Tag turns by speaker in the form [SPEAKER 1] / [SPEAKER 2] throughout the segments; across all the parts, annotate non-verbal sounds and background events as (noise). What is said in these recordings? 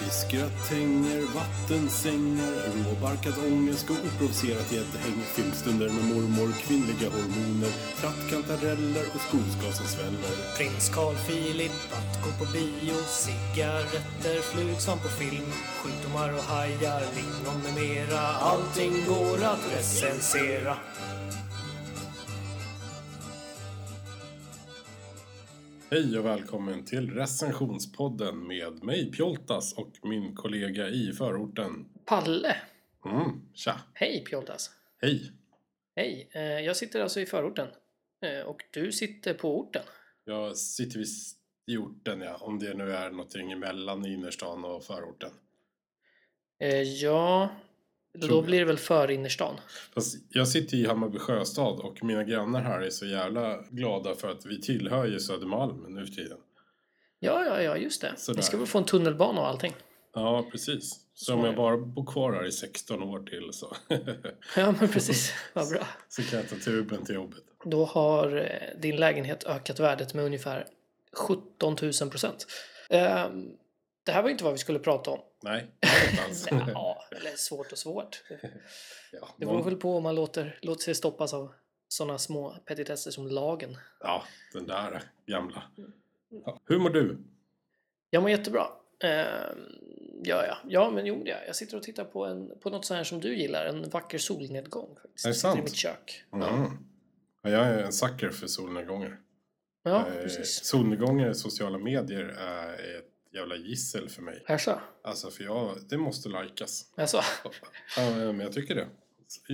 [SPEAKER 1] I skrattänger, vattensängar, råbarkad ångest och oprovocerat gäddhäng. Filmstunder med mormor, kvinnliga hormoner, trattkantareller och skogsglas som sväller.
[SPEAKER 2] Prins Carl Philip, att gå på bio, cigaretter, flug som på film, sjukdomar och hajar, lingon med mera. Allting går att recensera.
[SPEAKER 1] Hej och välkommen till recensionspodden med mig Pjoltas och min kollega i förorten.
[SPEAKER 2] Palle.
[SPEAKER 1] Mm, tja,
[SPEAKER 2] Hej Pjoltas.
[SPEAKER 1] hej.
[SPEAKER 2] Hej. Eh, Jag sitter alltså i förorten. Eh, Och du sitter på orten.
[SPEAKER 1] Jag sitter visst i orten ja, om det nu är någonting mellan innerstan och förorten.
[SPEAKER 2] Eh, Ja,
[SPEAKER 1] Tror
[SPEAKER 2] då
[SPEAKER 1] jag.
[SPEAKER 2] blir det väl förinnerstan.
[SPEAKER 1] Fast Alltså, jag sitter i Hammarby sjöstad och mina grannar här är så jävla glada för att vi tillhör ju Södermalm nu för tiden.
[SPEAKER 2] Ja, ja, ja, just det.
[SPEAKER 1] Sådär.
[SPEAKER 2] Vi ska väl få en tunnelbana och allting. (laughs)
[SPEAKER 1] Ja, precis. Så om jag bara bor kvar här i 16 år till så, (laughs)
[SPEAKER 2] Ja, men precis. Vad bra.
[SPEAKER 1] så kan jag ta tuben till jobbet.
[SPEAKER 2] Då har eh, din lägenhet ökat värdet med ungefär 17 000 procent. Det här var ju inte vad vi skulle prata om.
[SPEAKER 1] Nej, det är inte
[SPEAKER 2] (laughs)
[SPEAKER 1] alls.
[SPEAKER 2] Ja, eller svårt och svårt.
[SPEAKER 1] Ja,
[SPEAKER 2] Det beror
[SPEAKER 1] någon,
[SPEAKER 2] väl på om man låter, låter sig stoppas av sådana små petitesser som lagen.
[SPEAKER 1] ja, den där gamla.
[SPEAKER 2] Mm.
[SPEAKER 1] Ja. Hur mår du?
[SPEAKER 2] Jag mår jättebra. Ehm, Ja, ja. ja, men jo, ja. jag sitter och tittar på, en, på något sånt här som du gillar, en vacker solnedgång. Faktiskt.
[SPEAKER 1] Är det
[SPEAKER 2] Jag sitter i
[SPEAKER 1] sant?
[SPEAKER 2] mitt kök. Ja.
[SPEAKER 1] Mm. Ja, jag är en sucker för solnedgångar.
[SPEAKER 2] ja,
[SPEAKER 1] Eh,
[SPEAKER 2] precis.
[SPEAKER 1] Solnedgångar i sociala medier är ett jävla gissel för mig.
[SPEAKER 2] Jaså?
[SPEAKER 1] Alltså, för jag, det måste likas.
[SPEAKER 2] Jaså?
[SPEAKER 1] Ja, men jag tycker det.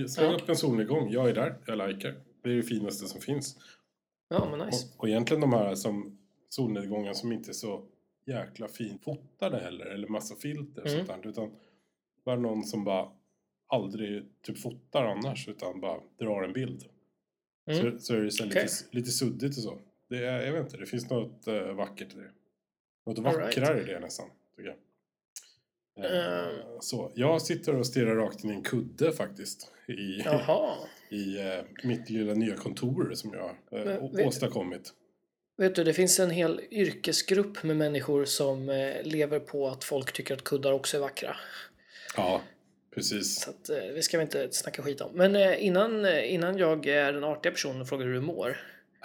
[SPEAKER 1] Släng
[SPEAKER 2] Ja.
[SPEAKER 1] upp en solnedgång. Jag är där. Jag likar. Det är det finaste som finns.
[SPEAKER 2] Ja, men nice.
[SPEAKER 1] Och, och egentligen de här som solnedgångar som inte är så jäkla fint fotade heller. Eller massa filter och
[SPEAKER 2] Mm.
[SPEAKER 1] sånt där. Utan bara någon som bara aldrig typ fotar annars. Utan bara drar en bild.
[SPEAKER 2] Mm.
[SPEAKER 1] Så, så är det så här
[SPEAKER 2] Okej.
[SPEAKER 1] lite, lite suddigt och så. Det är, jag vet inte. Det finns något eh, vackert i det. Något
[SPEAKER 2] All right.
[SPEAKER 1] vackrare i det nästan. Tycker jag. Eh,
[SPEAKER 2] Eh.
[SPEAKER 1] Så, jag sitter och stirrar rakt in i en kudde faktiskt. I,
[SPEAKER 2] Jaha.
[SPEAKER 1] (laughs) i eh, mitt lilla nya kontor som jag
[SPEAKER 2] Men
[SPEAKER 1] eh, å-
[SPEAKER 2] vet-
[SPEAKER 1] åstadkommit.
[SPEAKER 2] Vet du, det finns en hel yrkesgrupp med människor som eh, lever på att folk tycker att kuddar också är vackra.
[SPEAKER 1] Ja, precis.
[SPEAKER 2] Så att, eh, det ska vi inte snacka skit om. Men eh, innan, eh, innan jag är den artiga personen och frågar hur du mår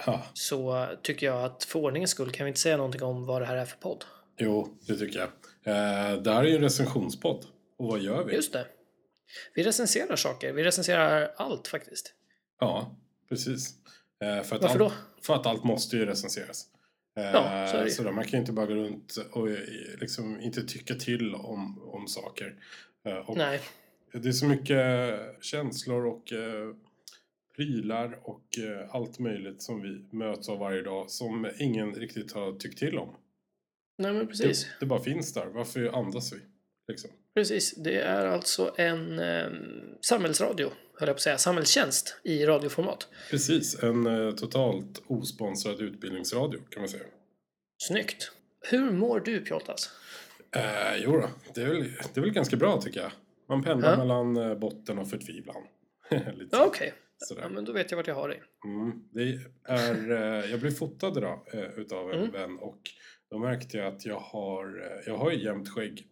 [SPEAKER 1] Ja,
[SPEAKER 2] så eh, tycker jag att för ordningens skull kan vi inte säga någonting om vad det här är för podd.
[SPEAKER 1] jo, det tycker jag. Eh, det här är ju en recensionspodd. Och vad gör vi?
[SPEAKER 2] Just det. Vi recenserar saker. Vi recenserar allt faktiskt.
[SPEAKER 1] Ja, precis. Eh, för, att
[SPEAKER 2] Varför
[SPEAKER 1] allt, för att allt måste ju recenseras. Eh,
[SPEAKER 2] Ja, så är det ju.
[SPEAKER 1] sådär, man kan ju inte bara gå runt och eh, liksom inte tycka till om, om saker. Eh, och
[SPEAKER 2] Nej.
[SPEAKER 1] Det är så mycket känslor och eh, prylar och eh, allt möjligt som vi möts av varje dag som ingen riktigt har tyckt till om.
[SPEAKER 2] Nej men precis.
[SPEAKER 1] Det, det bara finns där. Varför andas vi? Liksom.
[SPEAKER 2] Precis. Det är alltså en eh, samhällsradio, höll jag på att säga. Samhällstjänst i radioformat.
[SPEAKER 1] Precis, en eh, totalt osponsrad utbildningsradio kan man säga.
[SPEAKER 2] Snyggt. Hur mår du Pjoltas?
[SPEAKER 1] Eh, jo då, det är, väl, det är väl ganska bra tycker jag. Man pendlar
[SPEAKER 2] Ja.
[SPEAKER 1] mellan eh, botten och förtvivlan. (laughs) Lite
[SPEAKER 2] Ja, okej. Ja,
[SPEAKER 1] sådär.
[SPEAKER 2] men då vet jag vart jag har dig.
[SPEAKER 1] Mm. Det är, eh, jag blev fotad idag eh, utav en
[SPEAKER 2] Mm.
[SPEAKER 1] vän och då märkte jag att jag har, eh, jag har ju jämnt skägg.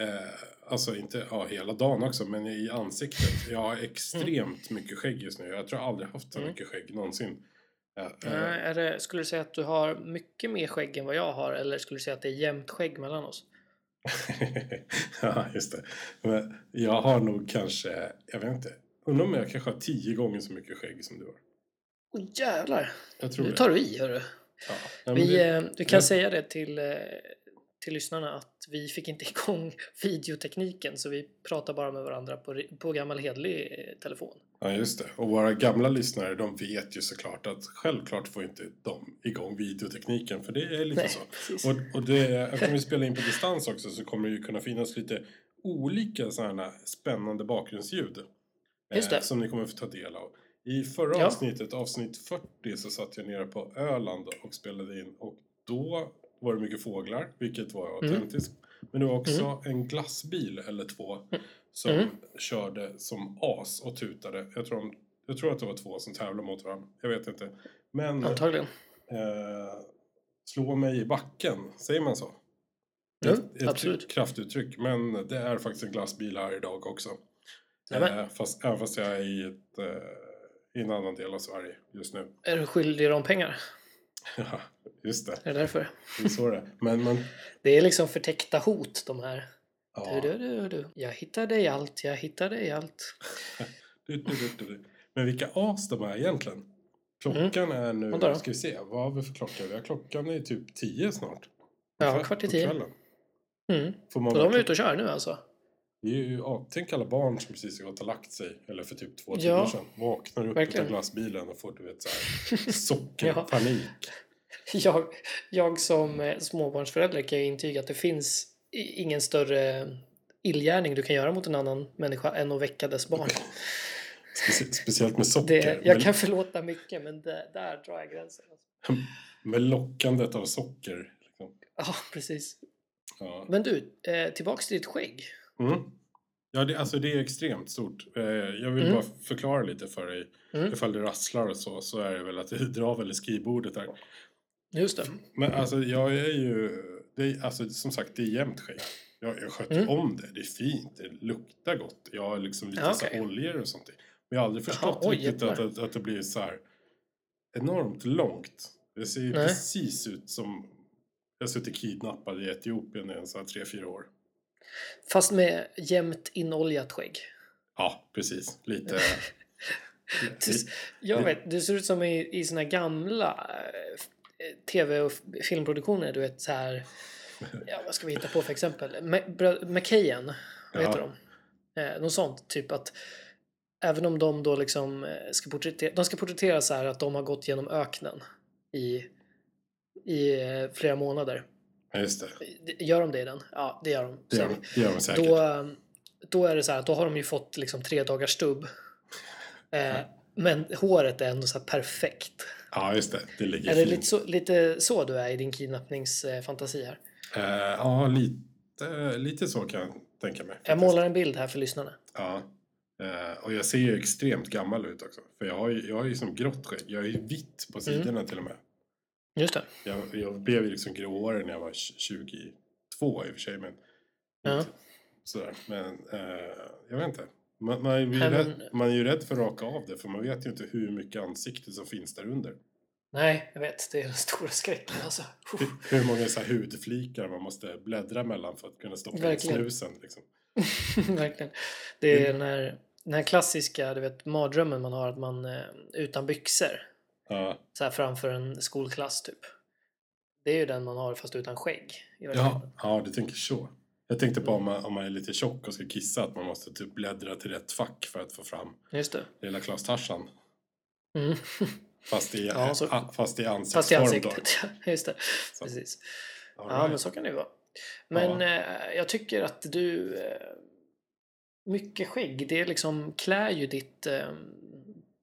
[SPEAKER 1] Eh, alltså inte ja, hela dagen också men i ansiktet. Jag har extremt mycket skägg just nu. Jag tror jag aldrig haft så
[SPEAKER 2] Mm.
[SPEAKER 1] mycket skägg någonsin. Eh, eh,
[SPEAKER 2] Nej, är det, skulle du säga att du har mycket mer skägg än vad jag har eller skulle du säga att det är jämnt skägg mellan oss?
[SPEAKER 1] (laughs) ja, just det. Men jag har nog kanske, jag vet inte. Undrar om jag kanske har tio gånger så mycket skägg som du har.
[SPEAKER 2] Åh jävlar!
[SPEAKER 1] Jag tror
[SPEAKER 2] Nu
[SPEAKER 1] det.
[SPEAKER 2] tar du i hörru.
[SPEAKER 1] Ja. Nej, men
[SPEAKER 2] Vi,
[SPEAKER 1] det-
[SPEAKER 2] eh, vi kan
[SPEAKER 1] det-
[SPEAKER 2] säga det till, eh, till lyssnarna att vi fick inte (laughs) igång videotekniken så vi pratar bara med varandra på, ri- på gammal hederlig eh, telefon.
[SPEAKER 1] Ja, just det. Och våra gamla lyssnare, de vet ju såklart att självklart får inte de igång videotekniken, för det är lite
[SPEAKER 2] Nej,
[SPEAKER 1] så.
[SPEAKER 2] precis.
[SPEAKER 1] Och, och det, eftersom vi spelar in på distans också så kommer det ju kunna finnas lite olika sådana spännande bakgrundsljud. eh,
[SPEAKER 2] Just det.
[SPEAKER 1] Som ni kommer få ta del av. I förra
[SPEAKER 2] Ja.
[SPEAKER 1] avsnittet, avsnitt 40, så satt jag nere på Öland och spelade in och då var det mycket fåglar, vilket var
[SPEAKER 2] Mm.
[SPEAKER 1] autentiskt. Men det var också en glassbil eller två som
[SPEAKER 2] Mm.
[SPEAKER 1] körde som as och tutade. Jag tror, de, jag tror att det var två som tävlade mot varandra. Jag vet inte. Men
[SPEAKER 2] Antagligen.
[SPEAKER 1] eh, slå mig i backen, säger man så? Ett,
[SPEAKER 2] Mm,
[SPEAKER 1] ett
[SPEAKER 2] absolut.
[SPEAKER 1] kraftuttryck. Men det är faktiskt en glassbil här idag också.
[SPEAKER 2] Nämen.
[SPEAKER 1] Eh, fast, även fast jag är i, ett, eh, i en annan del av Sverige just nu. (laughs)
[SPEAKER 2] Är du skyldig dem pengar?
[SPEAKER 1] Ja, just det.
[SPEAKER 2] Är det därför?
[SPEAKER 1] Det är så det är. Men man...
[SPEAKER 2] Det är liksom förtäckta hot de här. Du,
[SPEAKER 1] Ja.
[SPEAKER 2] du, du, du. Jag hittar dig i allt, jag hittar dig i allt.
[SPEAKER 1] Du, du, du, du, du. Men vilka as de är egentligen. Klockan är nu...
[SPEAKER 2] Vadå Mm. då?
[SPEAKER 1] Ska vi se. Vad har vi för klocka? Vi har klockan är typ tio snart.
[SPEAKER 2] Ja,
[SPEAKER 1] Kväll-
[SPEAKER 2] kvart i
[SPEAKER 1] på
[SPEAKER 2] tio.
[SPEAKER 1] kvällen.
[SPEAKER 2] Mm.
[SPEAKER 1] Får man
[SPEAKER 2] Och de är
[SPEAKER 1] verkligen-
[SPEAKER 2] ute och kör nu alltså?
[SPEAKER 1] Det är ju, ja, tänk alla barn som precis har gått och lagt sig, eller för typ två
[SPEAKER 2] Ja,
[SPEAKER 1] timmar sedan. Vaknar upp
[SPEAKER 2] verkligen.
[SPEAKER 1] utav glassbilen och får du vet, så
[SPEAKER 2] (laughs)
[SPEAKER 1] här, sockerpanik.
[SPEAKER 2] Jag, jag som eh, småbarnsförälder kan ju intyga att det finns i- ingen större illgärning du kan göra mot en annan människa än att väcka dess (laughs) barn.
[SPEAKER 1] Specie- Speciellt med socker.
[SPEAKER 2] Det, jag
[SPEAKER 1] med,
[SPEAKER 2] kan förlåta mycket men det, där drar jag gränsen. alltså.
[SPEAKER 1] med lockandet av socker. Liksom.
[SPEAKER 2] Ja, precis.
[SPEAKER 1] Ja.
[SPEAKER 2] Men du, eh, tillbaks till ditt skägg.
[SPEAKER 1] Mm. Ja, det, alltså det är extremt stort. Eh, jag vill
[SPEAKER 2] Mm.
[SPEAKER 1] bara förklara lite för dig.
[SPEAKER 2] Mm.
[SPEAKER 1] Ifall det rasslar och så, så är det väl att (laughs) det drar väl i skrivbordet där.
[SPEAKER 2] Just det.
[SPEAKER 1] Men alltså jag är ju, det är, alltså som sagt det är jämnt skägg. Jag, jag sköter
[SPEAKER 2] Mm.
[SPEAKER 1] om det, det är fint, det luktar gott. Jag har liksom lite
[SPEAKER 2] Ja,
[SPEAKER 1] så
[SPEAKER 2] okej.
[SPEAKER 1] här oljor och sånt. i. Men jag har aldrig förstått
[SPEAKER 2] oj,
[SPEAKER 1] riktigt att,
[SPEAKER 2] jävlar.
[SPEAKER 1] att, att det blir så här enormt långt. Det ser ju
[SPEAKER 2] Nej.
[SPEAKER 1] precis ut som jag har suttit kidnappad i Etiopien i en så här tre, fyra år.
[SPEAKER 2] Fast med jämnt inoljat skägg.
[SPEAKER 1] Ja, precis. Lite...
[SPEAKER 2] (laughs) Du, jag vet, du ser ut som i, i såna gamla eh, f- eh, tv och f- filmproduktioner. Du vet så här, ja, vad ska vi hitta på för exempel? Ma- brö- McKayen, vad
[SPEAKER 1] Ja.
[SPEAKER 2] heter de? Eh, något sånt, typ att även om de då liksom eh, ska porträttera, de ska porträttera så här att de har gått genom öknen i, i eh, flera månader.
[SPEAKER 1] Ja, just det.
[SPEAKER 2] Gör de det i den? Ja, det gör de.
[SPEAKER 1] Det
[SPEAKER 2] säger
[SPEAKER 1] gör,
[SPEAKER 2] vi.
[SPEAKER 1] man- det gör man säkert.
[SPEAKER 2] Då, eh, då är det så här att då har de ju fått liksom tre dagars stubb. Eh, men håret är ändå så här perfekt.
[SPEAKER 1] Ja, just det. Det ligger
[SPEAKER 2] Är det
[SPEAKER 1] fint.
[SPEAKER 2] lite så, lite så du är i din kidnappningsfantasi här?
[SPEAKER 1] Eh, ja, lite, lite så kan jag tänka mig.
[SPEAKER 2] Jag
[SPEAKER 1] faktiskt.
[SPEAKER 2] målar en bild här för lyssnarna.
[SPEAKER 1] Ja. Eh, och jag ser ju extremt gammal ut också. För jag har ju, jag har ju som grått skägg. Jag är ju vitt
[SPEAKER 2] Mm.
[SPEAKER 1] på sidorna till och med.
[SPEAKER 2] Just det.
[SPEAKER 1] Jag, jag blev ju liksom gråare när jag var tj- 22 i och för sig. Men,
[SPEAKER 2] Ja.
[SPEAKER 1] sådär. men eh, jag vet inte. Man, man, är ju
[SPEAKER 2] Nej, men-
[SPEAKER 1] rädd, man är ju rädd för att raka av det. För man vet ju inte hur mycket ansikte som finns där under.
[SPEAKER 2] Nej, jag vet. Det är den stora skräcken alltså. (laughs) Uff.
[SPEAKER 1] Hur- Hur många så här hudflikar man måste bläddra mellan för att kunna stoppa in
[SPEAKER 2] Verkligen.
[SPEAKER 1] snusen. Liksom.
[SPEAKER 2] Verkligen. Det är den här, den här klassiska du vet, mardrömmen man har att man eh, utan byxor
[SPEAKER 1] Ja.
[SPEAKER 2] så här framför en skolklass typ. Det är ju den man har fast utan skägg. i verkligheten.
[SPEAKER 1] Ja, ja, du tänker så. Jag tänkte på om man, om man är lite tjock och ska kissa att man måste typ bläddra till rätt fack för att få fram
[SPEAKER 2] Just det.
[SPEAKER 1] lilla Klas Tarzan.
[SPEAKER 2] Mm. (laughs)
[SPEAKER 1] Fast i,
[SPEAKER 2] Ja, så-
[SPEAKER 1] a, fast i ansiktsform
[SPEAKER 2] Fast i
[SPEAKER 1] då.
[SPEAKER 2] ansiktet, ja. (laughs) Just det.
[SPEAKER 1] Så,
[SPEAKER 2] Precis.
[SPEAKER 1] all
[SPEAKER 2] Ja, men
[SPEAKER 1] right.
[SPEAKER 2] så kan det ju vara. Men eh, jag tycker att du... Eh, mycket skägg, det liksom klär ju ditt, eh,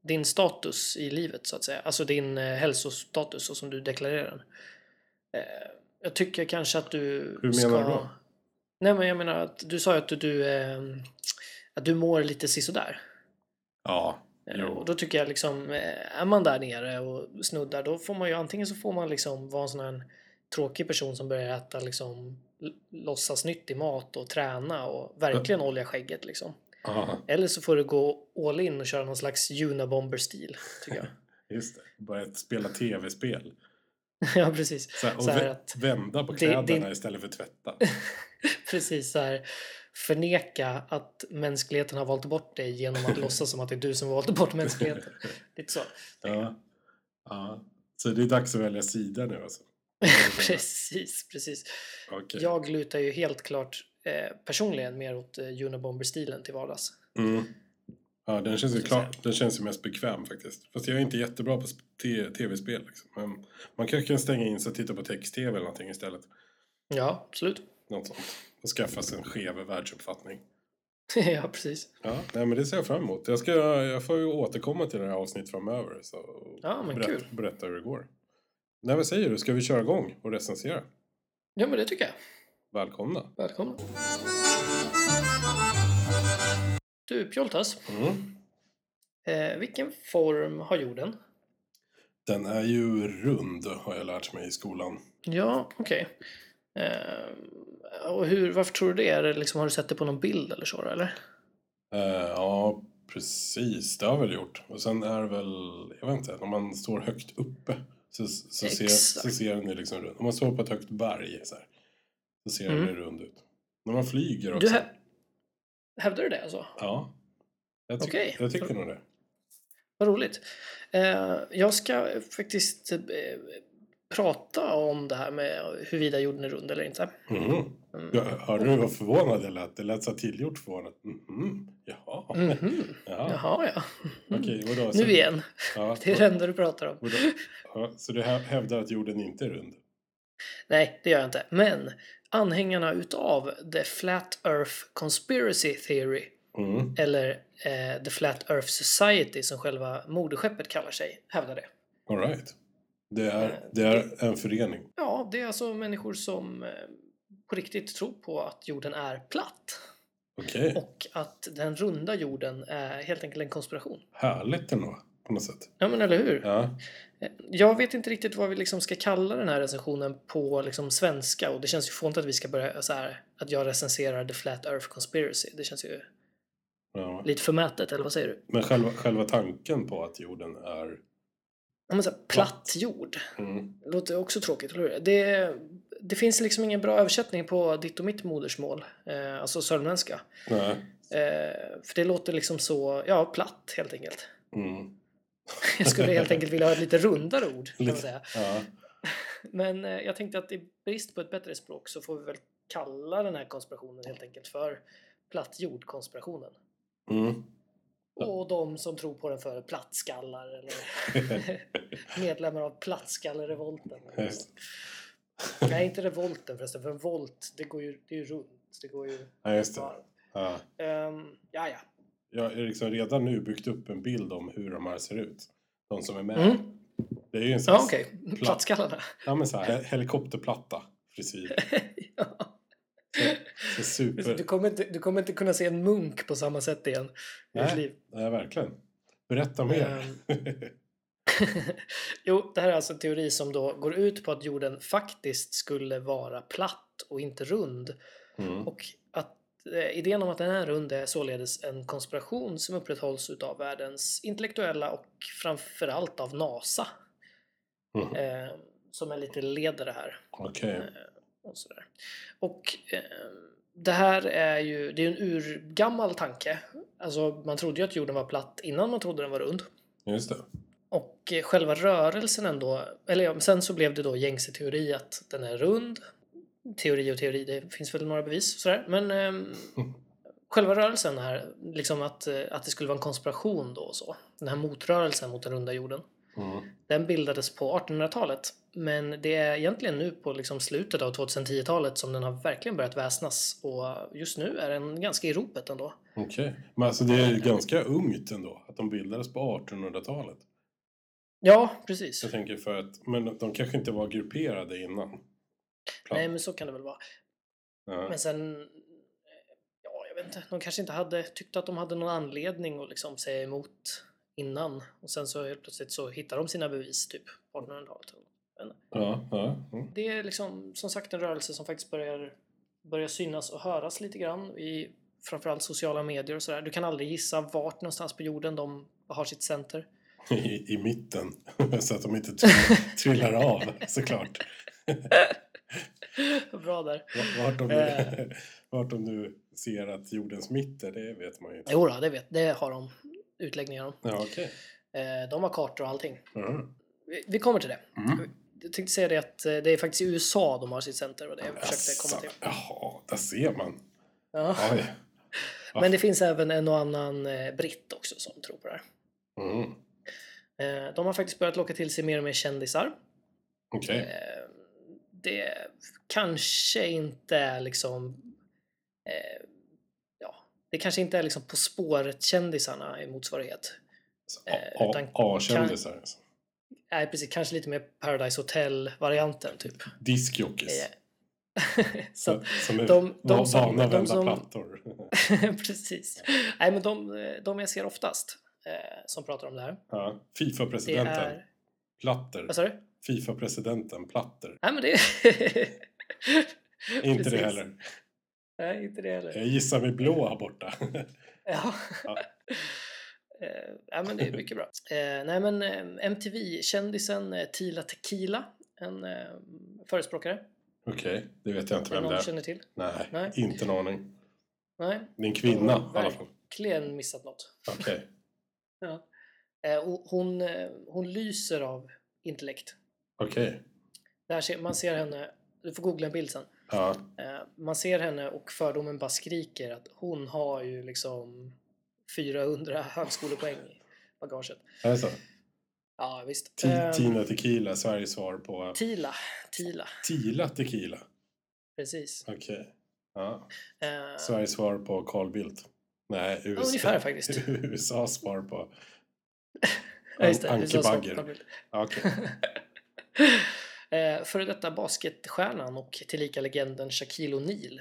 [SPEAKER 2] din status i livet så att säga. Alltså din eh, hälsostatus så som du deklarerar den. Eh, jag tycker kanske att du
[SPEAKER 1] Hur menar
[SPEAKER 2] ska...
[SPEAKER 1] du då?
[SPEAKER 2] Nej men jag menar att du sa ju att du, du, eh, att du mår lite sisådär.
[SPEAKER 1] Ja,
[SPEAKER 2] Eh,
[SPEAKER 1] Jo.
[SPEAKER 2] Och då tycker jag liksom, eh, är man där nere och snuddar då får man ju antingen så får man liksom vara en sån här tråkig person som börjar äta liksom l- låtsas nytt i mat och träna och verkligen olja skägget liksom.
[SPEAKER 1] aha,
[SPEAKER 2] Eller så får du gå all in och köra någon slags Unabomber-stil tycker jag.
[SPEAKER 1] (laughs) just det. Börja spela tv-spel.
[SPEAKER 2] ja precis.
[SPEAKER 1] Så här, och
[SPEAKER 2] Så här
[SPEAKER 1] vä-
[SPEAKER 2] att-
[SPEAKER 1] vända på
[SPEAKER 2] det-
[SPEAKER 1] kläderna
[SPEAKER 2] det-
[SPEAKER 1] istället för tvätta.
[SPEAKER 2] (laughs) Precis så här förneka att mänskligheten har valt bort dig
[SPEAKER 1] (laughs)
[SPEAKER 2] genom att låtsas som att det är du som valt bort mänskligheten. Lite så.
[SPEAKER 1] ja. Ja. Så det är dags att välja sida nu alltså.
[SPEAKER 2] (laughs) precis, precis.
[SPEAKER 1] Okej.
[SPEAKER 2] Jag lutar ju helt klart eh, personligen mer åt eh, Unabomber-stilen till vardags.
[SPEAKER 1] Mm. Ja, den känns, ju
[SPEAKER 2] Så att
[SPEAKER 1] klar, den känns ju mest bekväm faktiskt. Fast jag är inte jättebra på sp- te- tv-spel. Liksom. Men man kanske kan stänga in sig och titta på text-tv eller någonting istället.
[SPEAKER 2] Ja, absolut.
[SPEAKER 1] Något sånt. Och skaffa sig en skev världsuppfattning.
[SPEAKER 2] (laughs) ja, precis.
[SPEAKER 1] Ja, nej, men det ser jag fram emot. Jag, ska, jag får ju återkomma till det här avsnittet framöver. Så
[SPEAKER 2] Ja, men
[SPEAKER 1] berätta,
[SPEAKER 2] kul.
[SPEAKER 1] berätta hur det går. Nej, vad säger du? Ska vi köra igång och recensera?
[SPEAKER 2] Ja, men det tycker jag.
[SPEAKER 1] Välkomna.
[SPEAKER 2] Välkomna. Du, Pjoltas.
[SPEAKER 1] Mm.
[SPEAKER 2] Eh, vilken form har jorden?
[SPEAKER 1] Den är ju rund har jag lärt mig i skolan.
[SPEAKER 2] Ja, okej. Eh, och hur, varför tror du det? Är det liksom, har du sett det på någon bild eller så? Eller?
[SPEAKER 1] Eh, ja, precis. Det har jag väl gjort. Och sen är det väl, jag vet inte, när man står högt uppe så, så, ser,
[SPEAKER 2] Exakt.
[SPEAKER 1] så ser den ju liksom rund. Om man står på ett högt berg så, här, så ser den
[SPEAKER 2] Mm.
[SPEAKER 1] ju rund ut. När man flyger också.
[SPEAKER 2] Du hä- hävdar du det alltså?
[SPEAKER 1] Ja. Jag, ty-
[SPEAKER 2] Okej.
[SPEAKER 1] jag tycker nog det.
[SPEAKER 2] Vad roligt. Eh, jag ska faktiskt eh, prata om det här med huruvida jorden är rund eller inte.
[SPEAKER 1] Mhm.
[SPEAKER 2] Mm.
[SPEAKER 1] Jag hörde du vad förvånad jag lät? Det lät så här tillgjort förvånat. Mhm. Jaha.
[SPEAKER 2] Mhm.
[SPEAKER 1] Ja.
[SPEAKER 2] Jaha, ja. Mm.
[SPEAKER 1] Okej, vadå? Så-
[SPEAKER 2] Nu igen.
[SPEAKER 1] Ja,
[SPEAKER 2] Det är det enda du pratar om.
[SPEAKER 1] vadå? Ja, så du hä- hävdar att jorden inte är rund?
[SPEAKER 2] Nej, det gör jag inte. Men anhängarna utav The Flat Earth Conspiracy Theory,
[SPEAKER 1] Mm.
[SPEAKER 2] eller eh, The Flat Earth Society som själva moderskeppet kallar sig, hävdar det.
[SPEAKER 1] All right. Det
[SPEAKER 2] Eh,
[SPEAKER 1] är, det är en förening.
[SPEAKER 2] Ja, det är alltså människor som eh, på riktigt tror på att jorden är platt.
[SPEAKER 1] Okej,
[SPEAKER 2] Och att den runda jorden är helt enkelt en konspiration.
[SPEAKER 1] härligt ändå på något sätt.
[SPEAKER 2] Ja men eller hur?
[SPEAKER 1] Ja,
[SPEAKER 2] Jag vet inte riktigt vad vi liksom ska kalla den här recensionen på liksom svenska och det känns ju fånigt att vi ska börja så här att jag recenserar The Flat Earth Conspiracy. Det känns ju
[SPEAKER 1] ja.
[SPEAKER 2] lite förmätet, eller vad säger du?
[SPEAKER 1] Men själva, själva tanken på att jorden är...
[SPEAKER 2] Ja, men så här, platt jord.
[SPEAKER 1] Mm.
[SPEAKER 2] Låter också tråkigt, eller hur? Det, det finns liksom ingen bra översättning på ditt och mitt modersmål, eh, alltså sörmländska.
[SPEAKER 1] Nej.
[SPEAKER 2] Eh, för det låter liksom så, ja, platt helt enkelt. (laughs)
[SPEAKER 1] Mm.
[SPEAKER 2] Jag skulle helt enkelt vilja ha ett lite rundare ord, kan man
[SPEAKER 1] Lite-
[SPEAKER 2] säga.
[SPEAKER 1] Ja.
[SPEAKER 2] Men eh, jag tänkte att i brist på ett bättre språk så får vi väl kalla den här konspirationen helt enkelt för platt jordkonspirationen.
[SPEAKER 1] Mm. (laughs)
[SPEAKER 2] Och de som tror på den för plattskallar eller (laughs) medlemmar av plattskallerevolten.
[SPEAKER 1] Just.
[SPEAKER 2] Nej, inte revolten förresten, för en volt, det går ju, det är ju runt. Det går ju...
[SPEAKER 1] ja, just det.
[SPEAKER 2] varv.
[SPEAKER 1] Ja.
[SPEAKER 2] Ehm, ja, ja.
[SPEAKER 1] Jag har liksom redan nu byggt upp en bild om hur de här ser ut. De som är med.
[SPEAKER 2] Mm.
[SPEAKER 1] Det är ju en sån
[SPEAKER 2] Ja, okej. Plattskallarna.
[SPEAKER 1] ja, men så här, helikopterplatta frisyr.
[SPEAKER 2] (laughs) Ja.
[SPEAKER 1] Så
[SPEAKER 2] Alltså,
[SPEAKER 1] super...
[SPEAKER 2] Du, kommer inte, du kommer inte kunna se en munk på samma sätt igen i ditt
[SPEAKER 1] Nej.
[SPEAKER 2] liv.
[SPEAKER 1] Nej, verkligen. Berätta mer.
[SPEAKER 2] Ehm. (laughs) jo, det här är alltså en teori som då går ut på att jorden faktiskt skulle vara platt och inte rund.
[SPEAKER 1] Mm.
[SPEAKER 2] Eh, Och att eh, idén om att den är rund är således en konspiration som upprätthålls utav världens intellektuella och framförallt av NASA.
[SPEAKER 1] Mhm.
[SPEAKER 2] Eh, som är lite ledare här.
[SPEAKER 1] Okej.
[SPEAKER 2] Och, sådär. och eh, det här är ju det är ju en urgammal tanke. Alltså, man trodde ju att jorden var platt innan man trodde den var rund.
[SPEAKER 1] Just det.
[SPEAKER 2] Och eh, själva rörelsen ändå, eller ja, men sen så blev det då gängse teori att den är rund. Teori och teori, det finns väl några bevis och sådär. Men ehm, själva rörelsen här, liksom att, eh, att det skulle vara en konspiration då och så. Den här motrörelsen mot den runda jorden.
[SPEAKER 1] Mm.
[SPEAKER 2] Den bildades på 1800-talet. Men det är egentligen nu på liksom slutet av 2010-talet som den har verkligen börjat väsnas. Och just nu är den ganska i ropet ändå.
[SPEAKER 1] Okej. Men alltså det är ju ganska ungt ändå. Att de bildades på 1800-talet.
[SPEAKER 2] Ja, precis.
[SPEAKER 1] Jag tänker för att, men de kanske inte var grupperade innan. Platt.
[SPEAKER 2] Nej, men så kan det väl vara.
[SPEAKER 1] Ja.
[SPEAKER 2] Men sen, eh, ja jag vet inte, de kanske inte hade tyckt att de hade någon anledning att liksom säga emot innan. Och sen så helt plötsligt så hittar de sina bevis typ på 1800-talet.
[SPEAKER 1] Ja, ja. Mm.
[SPEAKER 2] Det är liksom som sagt en rörelse som faktiskt börjar, börjar synas och höras lite grann i framförallt sociala medier och sådär. Du kan aldrig gissa vart någonstans på jorden de har sitt center. (laughs)
[SPEAKER 1] I, I mitten. (laughs) Så att de inte trillar,
[SPEAKER 2] (laughs)
[SPEAKER 1] trillar av såklart.
[SPEAKER 2] Bra där.
[SPEAKER 1] V- Vart de,
[SPEAKER 2] Eh.
[SPEAKER 1] nu, (laughs) vart de nu ser att jordens mitt är, det vet man ju inte.
[SPEAKER 2] Jo då, det vet, det har de utläggningar om.
[SPEAKER 1] Ja, okej.
[SPEAKER 2] Eh, De har kartor och allting.
[SPEAKER 1] Mm.
[SPEAKER 2] Vi- Vi kommer till det.
[SPEAKER 1] Mm.
[SPEAKER 2] Jag tänkte säga det att eh, det är faktiskt i USA de har sitt center och det jag försökte komma till.
[SPEAKER 1] Jaså, Mm. Jaha, där ser man.
[SPEAKER 2] Ja.
[SPEAKER 1] Oj.
[SPEAKER 2] Men det finns även en och annan eh, britt också som tror på det här.
[SPEAKER 1] Mm.
[SPEAKER 2] Eh, De har faktiskt börjat locka till sig mer och mer kändisar.
[SPEAKER 1] Okej.
[SPEAKER 2] Eh, Det kanske inte är liksom... eh, Ja, det kanske inte är liksom På spåret-kändisarna i motsvarighet.
[SPEAKER 1] Så
[SPEAKER 2] eh,
[SPEAKER 1] A-
[SPEAKER 2] utan-
[SPEAKER 1] A- A-kändisar. alltså.
[SPEAKER 2] Nej, precis. Kanske lite mer Paradise Hotel-varianten, typ.
[SPEAKER 1] Diskjockeys.
[SPEAKER 2] Eh, Så att
[SPEAKER 1] Som som är
[SPEAKER 2] de- de
[SPEAKER 1] va-
[SPEAKER 2] som-
[SPEAKER 1] vana att
[SPEAKER 2] de
[SPEAKER 1] vända
[SPEAKER 2] som-
[SPEAKER 1] plattor.
[SPEAKER 2] Eh, (laughs) Precis. Nej, men de, de jag ser oftast eh, som pratar om det här,
[SPEAKER 1] Ja.
[SPEAKER 2] det
[SPEAKER 1] Fifa-presidenten.
[SPEAKER 2] är... Alltså-
[SPEAKER 1] Platter.
[SPEAKER 2] Vad sa du? (laughs)
[SPEAKER 1] Fifa-presidenten. Platter.
[SPEAKER 2] Nej, men det
[SPEAKER 1] Inte det
[SPEAKER 2] Precis.
[SPEAKER 1] heller.
[SPEAKER 2] Nej, inte det heller.
[SPEAKER 1] Jag gissar med blå här borta. (laughs)
[SPEAKER 2] Ja.
[SPEAKER 1] Ja.
[SPEAKER 2] (laughs) Eh, ja, men det är mycket bra. Eh, nej, men eh, MTV-kändisen eh, Tila Tequila, en eh, förespråkare.
[SPEAKER 1] Okej, det vet jag inte
[SPEAKER 2] Är
[SPEAKER 1] vem
[SPEAKER 2] någon
[SPEAKER 1] det
[SPEAKER 2] du
[SPEAKER 1] är.
[SPEAKER 2] känner till?
[SPEAKER 1] Nej,
[SPEAKER 2] Nej.
[SPEAKER 1] inte en aning.
[SPEAKER 2] Nej,
[SPEAKER 1] Det är en kvinna i alla fall.
[SPEAKER 2] verkligen missat något.
[SPEAKER 1] Okej.
[SPEAKER 2] Ja. Eh, och hon, eh, hon lyser av intellekt.
[SPEAKER 1] Okej.
[SPEAKER 2] Det här ser, man ser henne, du får googla en bild sen.
[SPEAKER 1] Ja.
[SPEAKER 2] Eh, man ser henne och fördomen bara skriker att hon har ju liksom 400 (laughs) högskolepoäng i bagaget.
[SPEAKER 1] Är det så?
[SPEAKER 2] Ja, visst.
[SPEAKER 1] Ti-
[SPEAKER 2] Eh,
[SPEAKER 1] Tina Tequila, Sveriges svar på
[SPEAKER 2] Tila, Tila,
[SPEAKER 1] Tila Tequila.
[SPEAKER 2] precis.
[SPEAKER 1] Okej. Ja.
[SPEAKER 2] Eh,
[SPEAKER 1] Sveriges svar på Carl Bildt. Nej,
[SPEAKER 2] ja,
[SPEAKER 1] USA.
[SPEAKER 2] ungefär
[SPEAKER 1] (laughs)
[SPEAKER 2] faktiskt.
[SPEAKER 1] USAs svar på...
[SPEAKER 2] Ja, just det.
[SPEAKER 1] Anki
[SPEAKER 2] Vi sa så.
[SPEAKER 1] Bagger. Ja, Okej.
[SPEAKER 2] (laughs) Eh, Före detta basketstjärnan och tillika legenden Shaquille O'Neal.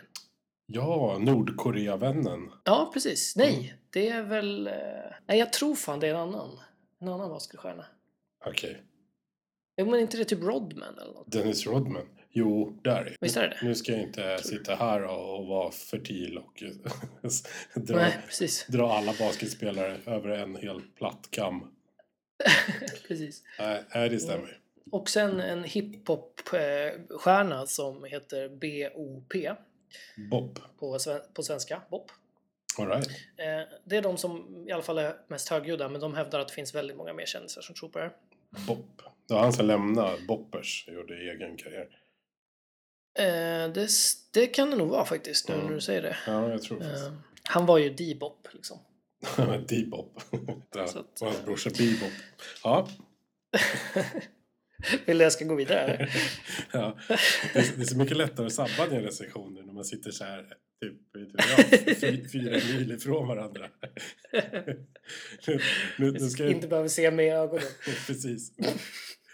[SPEAKER 1] Ja, Nordkoreavännen.
[SPEAKER 2] Ja, precis. Nej,
[SPEAKER 1] Mm.
[SPEAKER 2] det är väl... eh, Nej, jag tror fan det är en annan. En annan basketstjärna.
[SPEAKER 1] Okej.
[SPEAKER 2] Jo, men inte det typ Rodman eller något?
[SPEAKER 1] Dennis Rodman. Jo, där.
[SPEAKER 2] Visst är det det?
[SPEAKER 1] Nu ska jag inte sitta här och och vara fertil och (laughs) dra,
[SPEAKER 2] Nej, precis. (laughs)
[SPEAKER 1] dra alla basketspelare över en hel platt kam.
[SPEAKER 2] precis.
[SPEAKER 1] Nej, nej, det stämmer.
[SPEAKER 2] Och sen en hiphop-stjärna som heter B.O.P. Mm.
[SPEAKER 1] Bob.
[SPEAKER 2] på, sven- på svenska, BOP.
[SPEAKER 1] All right.
[SPEAKER 2] Eh, Det är de som i alla fall är mest högljudda, men de hävdar att det finns väldigt många mer kändisar som tror på det här.
[SPEAKER 1] Bopp. Det var han som lämnade Boppers och gjorde egen karriär.
[SPEAKER 2] Eh, det, s- det kan det nog vara faktiskt, nu
[SPEAKER 1] Mm.
[SPEAKER 2] när du säger det.
[SPEAKER 1] Ja, jag tror
[SPEAKER 2] Eh,
[SPEAKER 1] faktiskt. (laughs)
[SPEAKER 2] han var ju D-bop liksom. (laughs)
[SPEAKER 1] D-Bop. Det
[SPEAKER 2] Så att-
[SPEAKER 1] var hans brorsa Bebop. Ja.
[SPEAKER 2] Vill du jag ska gå
[SPEAKER 1] (laughs)
[SPEAKER 2] vidare? eller?
[SPEAKER 1] ja. Det, är, det är så mycket lättare att sabba dina recensioner när man sitter så här typ vet du, ja, fy- fyra mil ifrån varandra. nu, nu, nu ska jag,
[SPEAKER 2] Inte behöver se med ögonen.
[SPEAKER 1] precis.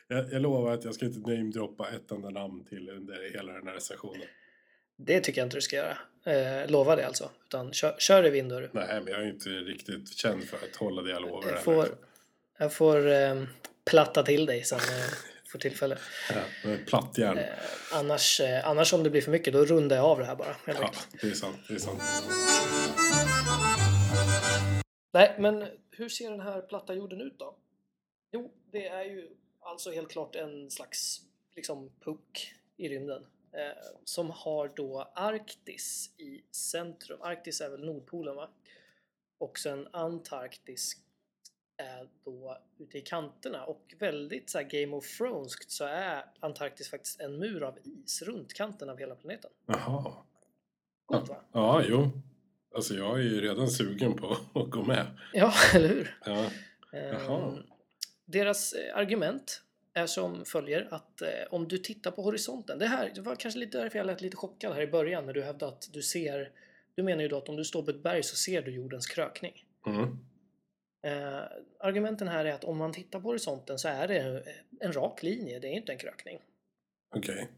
[SPEAKER 1] Jag, jag lovar att jag ska inte namedroppa ett enda namn till under hela den här recensionen.
[SPEAKER 2] Det tycker jag inte du ska göra. Eh, lova det alltså. Utan kör, kör i vind hörru.
[SPEAKER 1] Nej, men jag är inte riktigt känd för att hålla det liksom. jag lovar.
[SPEAKER 2] Jag
[SPEAKER 1] heller.
[SPEAKER 2] får, jag får eh, platta till dig sen eh, när jag får tillfälle.
[SPEAKER 1] Ja, men Plattjärn.
[SPEAKER 2] Eh, annars, eh, annars om det blir för mycket, då rundar jag av det här bara. helt
[SPEAKER 1] Ja,
[SPEAKER 2] enkelt.
[SPEAKER 1] det är sant. Det är sant.
[SPEAKER 2] Nej, men hur ser den här platta jorden ut då? Jo, det är ju alltså helt klart en slags liksom puck i rymden eh, som har då Arktis i centrum. Arktis är väl Nordpolen va? Och sen Antarktis är då ute i kanterna och väldigt så här Game of Thrones så är Antarktis faktiskt en mur av is runt kanten av hela planeten.
[SPEAKER 1] Jaha.
[SPEAKER 2] Coolt va?
[SPEAKER 1] Ja, jo. Alltså jag är ju redan sugen på att gå med.
[SPEAKER 2] Ja, (laughs) eller hur?
[SPEAKER 1] Ja, Jaha.
[SPEAKER 2] Ehm, Deras eh, argument är som följer att eh, om du tittar på horisonten. Det här det var kanske lite därför jag lät lite chockad här i början när du hävdade att du ser. Du menar ju då att om du står på ett berg så ser du jordens krökning.
[SPEAKER 1] mm.
[SPEAKER 2] Eh, argumenten här är att om man tittar på horisonten så är det eh, en rak linje, det är inte en krökning.
[SPEAKER 1] okej.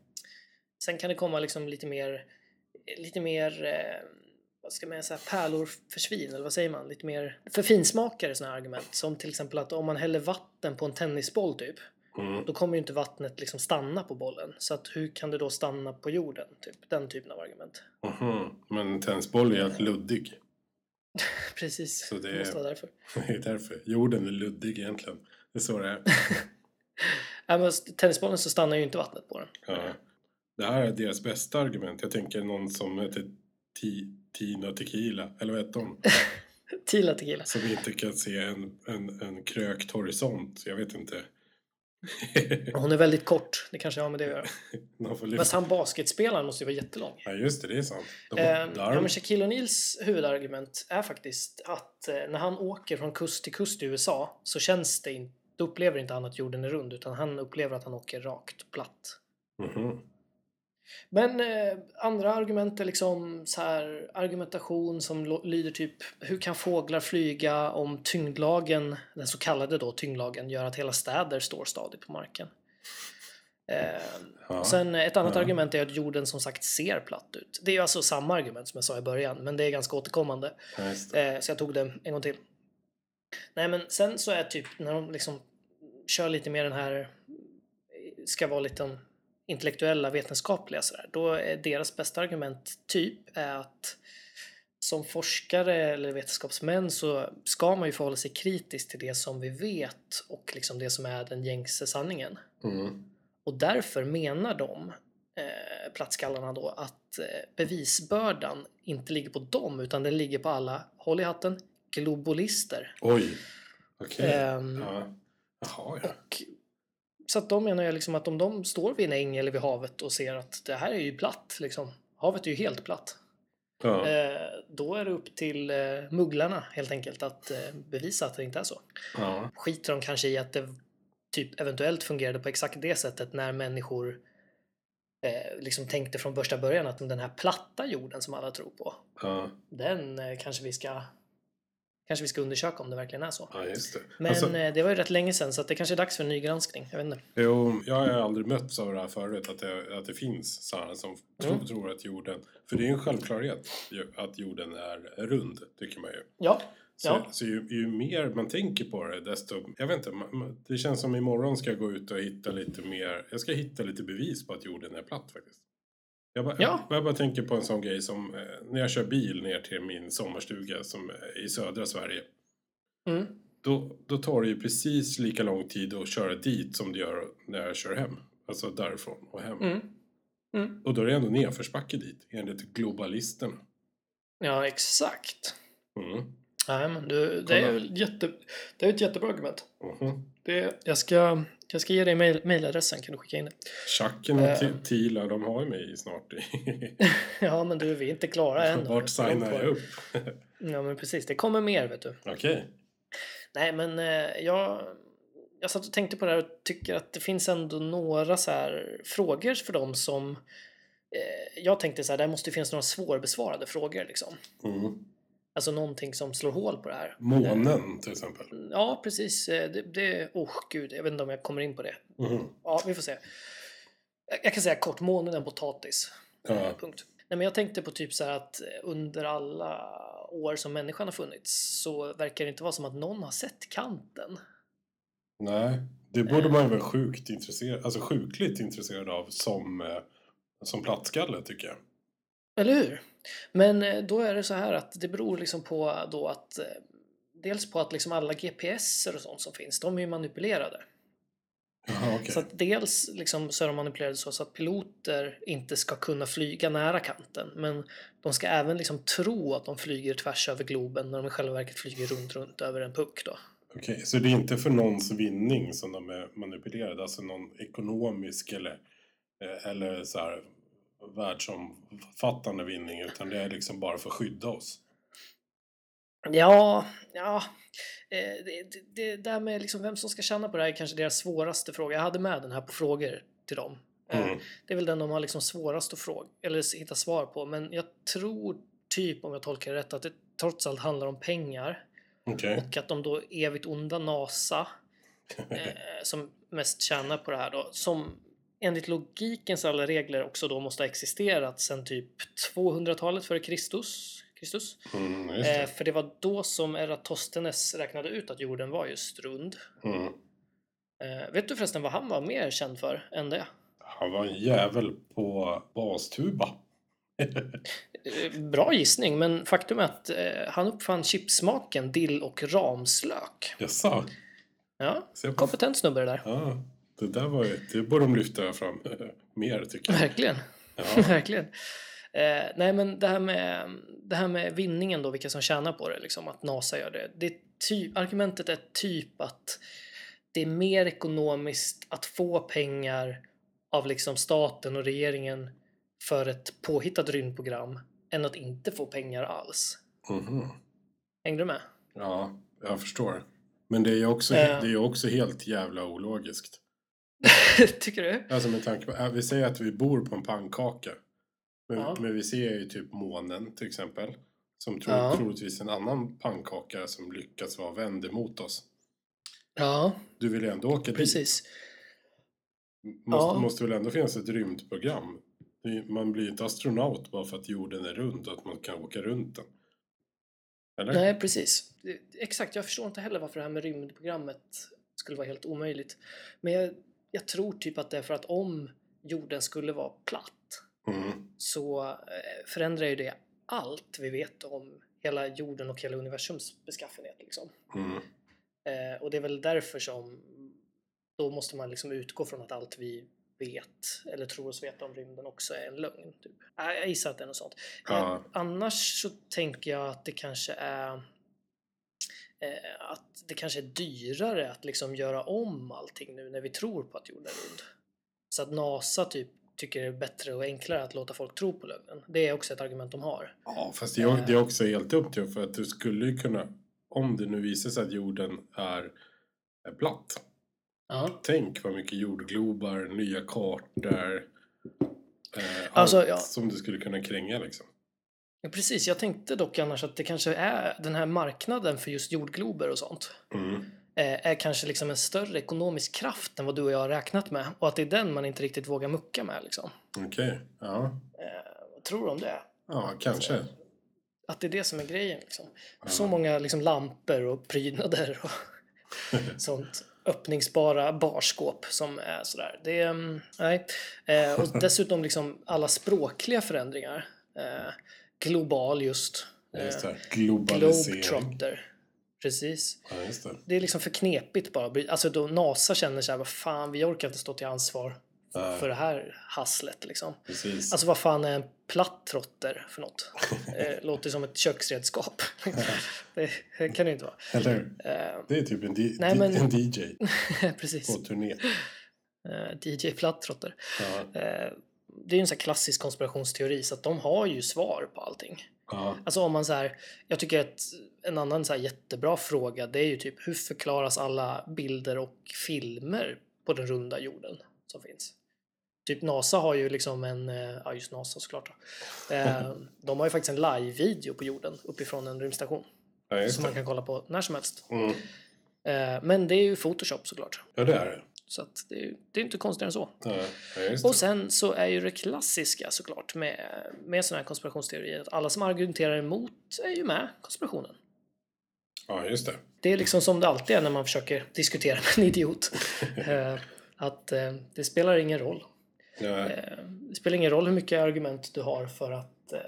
[SPEAKER 2] Sen kan det komma liksom lite mer, lite mer, eh, vad ska man säga, pärlor för svin, eller vad säger man? Lite mer förfinsmakare sådana här argument. Som till exempel att om man häller vatten på en tennisboll typ,
[SPEAKER 1] Mm.
[SPEAKER 2] då kommer ju inte vattnet liksom stanna på bollen. Så att hur kan det då stanna på jorden? Typ den typen av argument. (laughs)
[SPEAKER 1] Mhm. Men tennisboll är helt luddig. (laughs)
[SPEAKER 2] Precis,
[SPEAKER 1] Så det-
[SPEAKER 2] det måste vara därför.
[SPEAKER 1] Det är därför. Jorden är luddig egentligen. Det är så det är.
[SPEAKER 2] (laughs) Ja, Äh, men s- tennisbollen så stannar ju inte vattnet på den.
[SPEAKER 1] Ja. Det här är deras bästa argument. Jag tänker någon som heter Ti Tina Tequila, eller vad heter
[SPEAKER 2] (laughs)
[SPEAKER 1] hon?
[SPEAKER 2] Tila till killar.
[SPEAKER 1] Som inte kan se en, en, en krökt horisont. Jag vet inte. (laughs)
[SPEAKER 2] Hon är väldigt kort, det kanske har med det att göra.
[SPEAKER 1] Någon får
[SPEAKER 2] Men
[SPEAKER 1] lyfta.
[SPEAKER 2] han basketspelaren måste ju vara jättelång.
[SPEAKER 1] Ja, just det. Det är sant. De har
[SPEAKER 2] Eh, ja,
[SPEAKER 1] larm.
[SPEAKER 2] men Shaquille O'Neals huvudargument är faktiskt att eh, när han åker från kust till kust i USA så känns det inte, då upplever inte han att jorden är rund utan han upplever att han åker rakt, platt.
[SPEAKER 1] Mhm.
[SPEAKER 2] Men eh, andra argument är liksom så här argumentation som lo- lyder typ hur kan fåglar flyga om tyngdlagen, den så kallade då tyngdlagen, gör att hela städer står stadigt på marken. Eh,
[SPEAKER 1] Ja.
[SPEAKER 2] Sen eh, ett annat
[SPEAKER 1] Ja.
[SPEAKER 2] argument är att jorden som sagt ser platt ut. Det är ju alltså samma argument som jag sa i början, men det är ganska återkommande.
[SPEAKER 1] Ja, just det.
[SPEAKER 2] Eh, så jag tog det en gång till. Nej men sen så är typ när de liksom kör lite mer den här, ska vara lite intellektuella, vetenskapliga sådär, då är deras bästa argument typ är att som forskare eller vetenskapsmän så ska man ju förhålla sig kritiskt till det som vi vet och liksom det som är den gängse sanningen.
[SPEAKER 1] Mm.
[SPEAKER 2] Och därför menar de, eh, plattskallarna då, att eh, bevisbördan inte ligger på dem utan den ligger på alla, håll i hatten, globalister.
[SPEAKER 1] Oj. Okej. Mm.
[SPEAKER 2] Ehm,
[SPEAKER 1] Ja. Jaha, ja.
[SPEAKER 2] Och, så att de menar jag liksom att om de står vid en äng eller vid havet och ser att det här är ju platt, liksom, havet är ju helt platt.
[SPEAKER 1] ja.
[SPEAKER 2] Eh, då är det upp till eh, mugglarna helt enkelt att eh, bevisa att det inte är så.
[SPEAKER 1] ja.
[SPEAKER 2] Skiter de kanske i att det typ eventuellt fungerade på exakt det sättet när människor eh, liksom tänkte från första början att den här platta jorden som alla tror på,
[SPEAKER 1] ja.
[SPEAKER 2] den eh, kanske vi ska Kanske vi ska undersöka om det verkligen är så.
[SPEAKER 1] Ja, just det.
[SPEAKER 2] Men
[SPEAKER 1] alltså,
[SPEAKER 2] eh, det var ju rätt länge sedan så att det kanske är dags för en ny granskning. Jag vet inte.
[SPEAKER 1] jo, jag har aldrig mötts av det här förut, att det, att det finns sådana som tro,
[SPEAKER 2] Mm.
[SPEAKER 1] tror att jorden... För det är ju en självklarhet ju, att jorden är rund, tycker man ju.
[SPEAKER 2] Ja,
[SPEAKER 1] Så,
[SPEAKER 2] Ja.
[SPEAKER 1] så ju, ju mer man tänker på det, desto... Jag vet inte, man, man- det känns som imorgon ska jag gå ut och hitta lite mer... Jag ska hitta lite bevis på att jorden är platt faktiskt. Jag bara,
[SPEAKER 2] Ja.
[SPEAKER 1] jag bara tänker på en sån grej som eh, när jag kör bil ner till min sommarstuga som är i södra Sverige.
[SPEAKER 2] mm.
[SPEAKER 1] Då, då tar det ju precis lika lång tid att köra dit som det gör när jag kör hem. Alltså därifrån och hem.
[SPEAKER 2] Mm. Mm.
[SPEAKER 1] Och då är det ändå nedförsbacke dit, enligt globalisterna.
[SPEAKER 2] ja exakt.
[SPEAKER 1] Mm.
[SPEAKER 2] Nej, men du, det, är
[SPEAKER 1] Kolla.
[SPEAKER 2] ju jätte, det är ju ett jättebra argument.
[SPEAKER 1] Mhm.
[SPEAKER 2] Det, jag, ska, jag ska ge dig mail- mailadressen, kan du skicka in det?
[SPEAKER 1] Tjacken
[SPEAKER 2] Eh.
[SPEAKER 1] och Ti- Tila, de har ju mig snart i
[SPEAKER 2] (laughs) Ja, men du, vi är inte klara
[SPEAKER 1] (laughs)
[SPEAKER 2] än.
[SPEAKER 1] Vart signar jag upp?
[SPEAKER 2] Ja, men precis. Det kommer mer, vet du.
[SPEAKER 1] Okej.
[SPEAKER 2] Nej, men eh, jag, jag satt och tänkte på det här och tycker att det finns ändå några så här frågor för dem som... Eh, jag tänkte så här, det måste ju finnas några svårbesvarade frågor, liksom.
[SPEAKER 1] Mm.
[SPEAKER 2] Alltså någonting som slår hål på det här.
[SPEAKER 1] Månen till exempel.
[SPEAKER 2] Ja, precis. Eh, Det, det, oh, gud, jag vet inte om jag kommer in på det.
[SPEAKER 1] Mhm.
[SPEAKER 2] Ja, vi får se. Jag, jag kan säga kort, månen är en potatis. Eh,
[SPEAKER 1] Ja.
[SPEAKER 2] Punkt. Nej, men jag tänkte på typ så här att eh, under alla år som människan har funnits så verkar det inte vara som att någon har sett kanten.
[SPEAKER 1] Nej, det borde man ju vara sjukt intresserad, alltså sjukligt intresserad av som, eh, som plattskalle tycker jag.
[SPEAKER 2] Eller hur? Men eh, då är det så här att det beror liksom på då att eh, dels på att liksom alla GPSer och sånt som finns, de är ju manipulerade.
[SPEAKER 1] Jaha, okej.
[SPEAKER 2] Så att dels liksom så är de manipulerade så så att piloter inte ska kunna flyga nära kanten. Men de ska även liksom tro att de flyger tvärs över Globen när de i själva verket flyger runt, runt över en puck då.
[SPEAKER 1] Okej, Så det är inte för någons vinning som de är manipulerade, alltså någon ekonomisk eller, eh, eller så här världsomfattande vinning, utan det är liksom bara för att skydda oss.
[SPEAKER 2] Ja, ja. eh, Det, det, det där med liksom vem som ska tjäna på det här är kanske deras svåraste fråga. Jag hade med den här på frågor till dem. Eh,
[SPEAKER 1] Mm.
[SPEAKER 2] Det är väl den de har liksom svårast att fråga, eller s- hitta svar på. Men jag tror typ, om jag tolkar det rätt, att det trots allt handlar om pengar.
[SPEAKER 1] Okej.
[SPEAKER 2] Och att de då evigt onda NASA, eh, som mest tjänar på det här då, som enligt logikens alla regler också då måste ha existerat sedan typ 200-talet före Kristus. Kristus.
[SPEAKER 1] Mm, just
[SPEAKER 2] Eh,
[SPEAKER 1] det.
[SPEAKER 2] för det var då som Eratosthenes räknade ut att jorden var just rund.
[SPEAKER 1] Mm.
[SPEAKER 2] Eh, vet du förresten vad han var mer känd för än det?
[SPEAKER 1] Han var en jävel på bastuba.
[SPEAKER 2] Eh, bra gissning, men faktum är att eh, han uppfann chipsmaken dill och ramslök.
[SPEAKER 1] Jaså?
[SPEAKER 2] Ja,
[SPEAKER 1] Se på
[SPEAKER 2] kompetent snubbe det där.
[SPEAKER 1] Ja, det där var ju, det borde de lyfta fram (laughs) mer tycker jag.
[SPEAKER 2] Verkligen. (laughs)
[SPEAKER 1] Ja.
[SPEAKER 2] Verkligen. Eh, nej men det här, med, det här med vinningen då, vilka som tjänar på det, liksom, att NASA gör det. det är typ, argumentet är typ att det är mer ekonomiskt att få pengar av liksom staten och regeringen för ett påhittat rymdprogram än att inte få pengar alls.
[SPEAKER 1] Mhm.
[SPEAKER 2] Hängde du med? (laughs)
[SPEAKER 1] ja, jag förstår. Men det är ju också,
[SPEAKER 2] Eh.
[SPEAKER 1] det är ju också helt jävla ologiskt.
[SPEAKER 2] Tycker du?
[SPEAKER 1] Alltså med tanke på, äh, vi säger att vi bor på en pannkaka. Men,
[SPEAKER 2] Ja.
[SPEAKER 1] men vi ser ju typ månen till exempel. Som tro,
[SPEAKER 2] Ja.
[SPEAKER 1] troligtvis en annan pannkaka som lyckas vara vänd emot oss.
[SPEAKER 2] Ja,
[SPEAKER 1] Du vill ju ändå åka dit.
[SPEAKER 2] precis.
[SPEAKER 1] Måste,
[SPEAKER 2] Ja.
[SPEAKER 1] måste väl ändå finnas ett rymdprogram. Det är- Man blir ju inte astronaut bara för att jorden är rund och att man kan åka runt den. Eller?
[SPEAKER 2] Nej, precis. Det- Exakt, jag förstår inte heller varför det här med rymdprogrammet skulle vara helt omöjligt. Men jag, jag tror typ att det är för att om jorden skulle vara platt
[SPEAKER 1] Mm.
[SPEAKER 2] så eh, förändrar ju det allt vi vet om hela jorden och hela universums beskaffenhet. Liksom.
[SPEAKER 1] Mm.
[SPEAKER 2] Eh, och det är väl därför som då måste man liksom utgå från att allt vi vet eller tror oss veta om rymden också är en lögn. Typ. Äh, Jag gissar att det är något sånt.
[SPEAKER 1] Ja.
[SPEAKER 2] Eh, annars så tänker jag att det kanske är eh, att det kanske är dyrare att liksom göra om allting nu när vi tror på att jorden är rund. Så att NASA typ tycker det är bättre och enklare att låta folk tro på lögnen. Det är också ett argument de har.
[SPEAKER 1] Ja, fast det är, det är också helt upp till för att du skulle ju kunna, om det nu visar sig att jorden är, är platt.
[SPEAKER 2] Ja.
[SPEAKER 1] Tänk vad mycket jordglobar, nya kartor, eh,
[SPEAKER 2] Alltså,
[SPEAKER 1] allt
[SPEAKER 2] ja.
[SPEAKER 1] som du skulle kunna kränga liksom.
[SPEAKER 2] Precis, jag tänkte dock annars att det kanske är den här marknaden för just jordglober och sånt.
[SPEAKER 1] Mm.
[SPEAKER 2] eh, är kanske liksom en större ekonomisk kraft än vad du och jag har räknat med och att det är den man inte riktigt vågar mucka med. Liksom.
[SPEAKER 1] Okej, ja.
[SPEAKER 2] Eh, vad tror du om det?
[SPEAKER 1] Ja,
[SPEAKER 2] Eh,
[SPEAKER 1] kanske.
[SPEAKER 2] Att det är det som är grejen. Liksom.
[SPEAKER 1] Ja.
[SPEAKER 2] Så många liksom, lampor och prydnader
[SPEAKER 1] (laughs)
[SPEAKER 2] och sånt öppningsbara barskåp som är sådär. Det är, mm, nej.
[SPEAKER 1] (laughs)
[SPEAKER 2] Eh, och dessutom liksom alla språkliga förändringar. Eh, global just.
[SPEAKER 1] Ja, Just
[SPEAKER 2] Eh,
[SPEAKER 1] det. Globalisering.
[SPEAKER 2] Globetrotter. Precis.
[SPEAKER 1] Ja, just det.
[SPEAKER 2] Det är liksom för knepigt bara. att bry- Alltså då NASA känner så här, vad fan, vi orkar inte stå till ansvar
[SPEAKER 1] Nej.
[SPEAKER 2] för det här hasslet liksom.
[SPEAKER 1] Precis.
[SPEAKER 2] Alltså vad fan är en plattrotter för något? Eh, Låter som ett köksredskap. det kan det ju inte vara.
[SPEAKER 1] Eller
[SPEAKER 2] Eh, (laughs)
[SPEAKER 1] Det är typ en, di-
[SPEAKER 2] Nej,
[SPEAKER 1] di-
[SPEAKER 2] men-
[SPEAKER 1] en DJ
[SPEAKER 2] Precis.
[SPEAKER 1] på turné.
[SPEAKER 2] Eh, DJ Plattrotter.
[SPEAKER 1] Ja,
[SPEAKER 2] Eh, Det är ju en sån här klassisk konspirationsteori så att de har ju svar på allting.
[SPEAKER 1] ja,
[SPEAKER 2] Alltså om man så här, jag tycker att en annan så här jättebra fråga det är ju typ hur förklaras alla bilder och filmer på den runda jorden som finns? Typ NASA har ju liksom en, eh, ja just NASA såklart då. Eh,
[SPEAKER 1] (laughs)
[SPEAKER 2] De har ju faktiskt en live-video på jorden uppifrån en rymdstation.
[SPEAKER 1] ja, just
[SPEAKER 2] Som man
[SPEAKER 1] det.
[SPEAKER 2] kan kolla på när som helst.
[SPEAKER 1] Mm.
[SPEAKER 2] Eh, Men det är ju Photoshop såklart.
[SPEAKER 1] Ja, det är det.
[SPEAKER 2] Så att det, är, ju- det är inte konstigare än så.
[SPEAKER 1] Ja, ja, just
[SPEAKER 2] Och
[SPEAKER 1] det.
[SPEAKER 2] sen så är ju det klassiska såklart med, med sådana här konspirationsteorier att alla som argumenterar emot är ju med konspirationen.
[SPEAKER 1] Ja, just det.
[SPEAKER 2] Det är liksom som det alltid är när man försöker diskutera med en
[SPEAKER 1] (laughs)
[SPEAKER 2] idiot. Eh, att eh, det spelar ingen roll.
[SPEAKER 1] Ja,
[SPEAKER 2] Eh, det spelar ingen roll hur mycket argument du har för att, eh,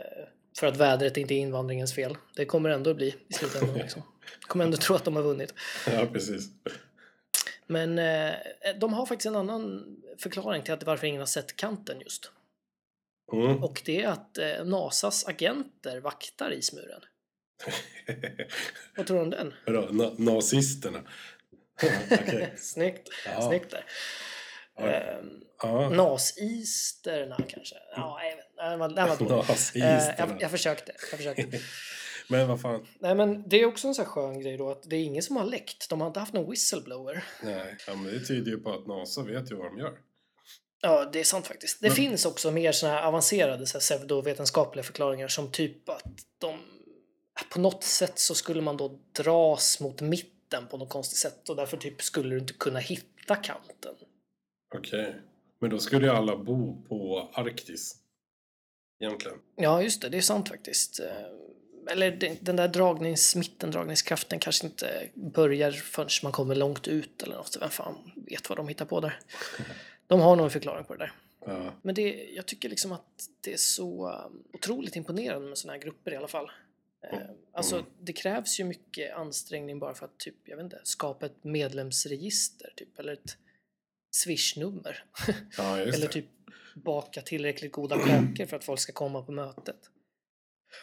[SPEAKER 2] för att vädret inte är invandringens fel. Det kommer ändå bli i slutändan. Liksom. kommer ändå tro att de har vunnit.
[SPEAKER 1] ja precis.
[SPEAKER 2] Men eh, de har faktiskt en annan förklaring till att varför ingen har sett kanten just.
[SPEAKER 1] Mm. (laughs)
[SPEAKER 2] Och det är att eh, NASAs agenter vaktar ismuren. Vad tror du om den?
[SPEAKER 1] Vadå, na- nazisterna? (laughs) Okej.
[SPEAKER 2] (laughs) Snyggt,
[SPEAKER 1] Ja.
[SPEAKER 2] snyggt där.
[SPEAKER 1] Ja.
[SPEAKER 2] Ehm,
[SPEAKER 1] Ja,
[SPEAKER 2] Nasisterna kanske? Ja, jag vet. Nej, Den var, den
[SPEAKER 1] (laughs)
[SPEAKER 2] var dålig. Eh, jag, jag
[SPEAKER 1] nazisterna.
[SPEAKER 2] försökte. Jag försökte.
[SPEAKER 1] Men vad fan.
[SPEAKER 2] Nej, men det är också en sån här skön grej då att det är ingen som har läckt. De har inte haft någon whistleblower.
[SPEAKER 1] Nej, ja, men det tyder ju på att NASA vet ju vad de gör.
[SPEAKER 2] Ja, det är sant faktiskt. Det
[SPEAKER 1] Men-
[SPEAKER 2] finns också mer såna här avancerade så här pseudovetenskapliga förklaringar som typ att de på något sätt så skulle man då dras mot mitten på något konstigt sätt och därför typ skulle du inte kunna hitta kanten.
[SPEAKER 1] Okej. Men då skulle ju alla bo på Arktis. Egentligen.
[SPEAKER 2] Ja, just det. Det är sant faktiskt. Eh, Eller den- den där dragnings, mittendragningskraften kanske inte börjar förrän man kommer långt ut eller något. Vem fan vet vad de hittar på där. De har nog en förklaring på det där.
[SPEAKER 1] Ja,
[SPEAKER 2] Men det, jag tycker liksom att det är så um, otroligt imponerande med såna här grupper i alla fall. Eh, Alltså,
[SPEAKER 1] Mm.
[SPEAKER 2] det krävs ju mycket ansträngning bara för att typ, jag vet inte, skapa ett medlemsregister typ, eller ett swishnummer.
[SPEAKER 1] ja just
[SPEAKER 2] Eller
[SPEAKER 1] det.
[SPEAKER 2] typ baka tillräckligt goda kakor för att folk ska komma på mötet.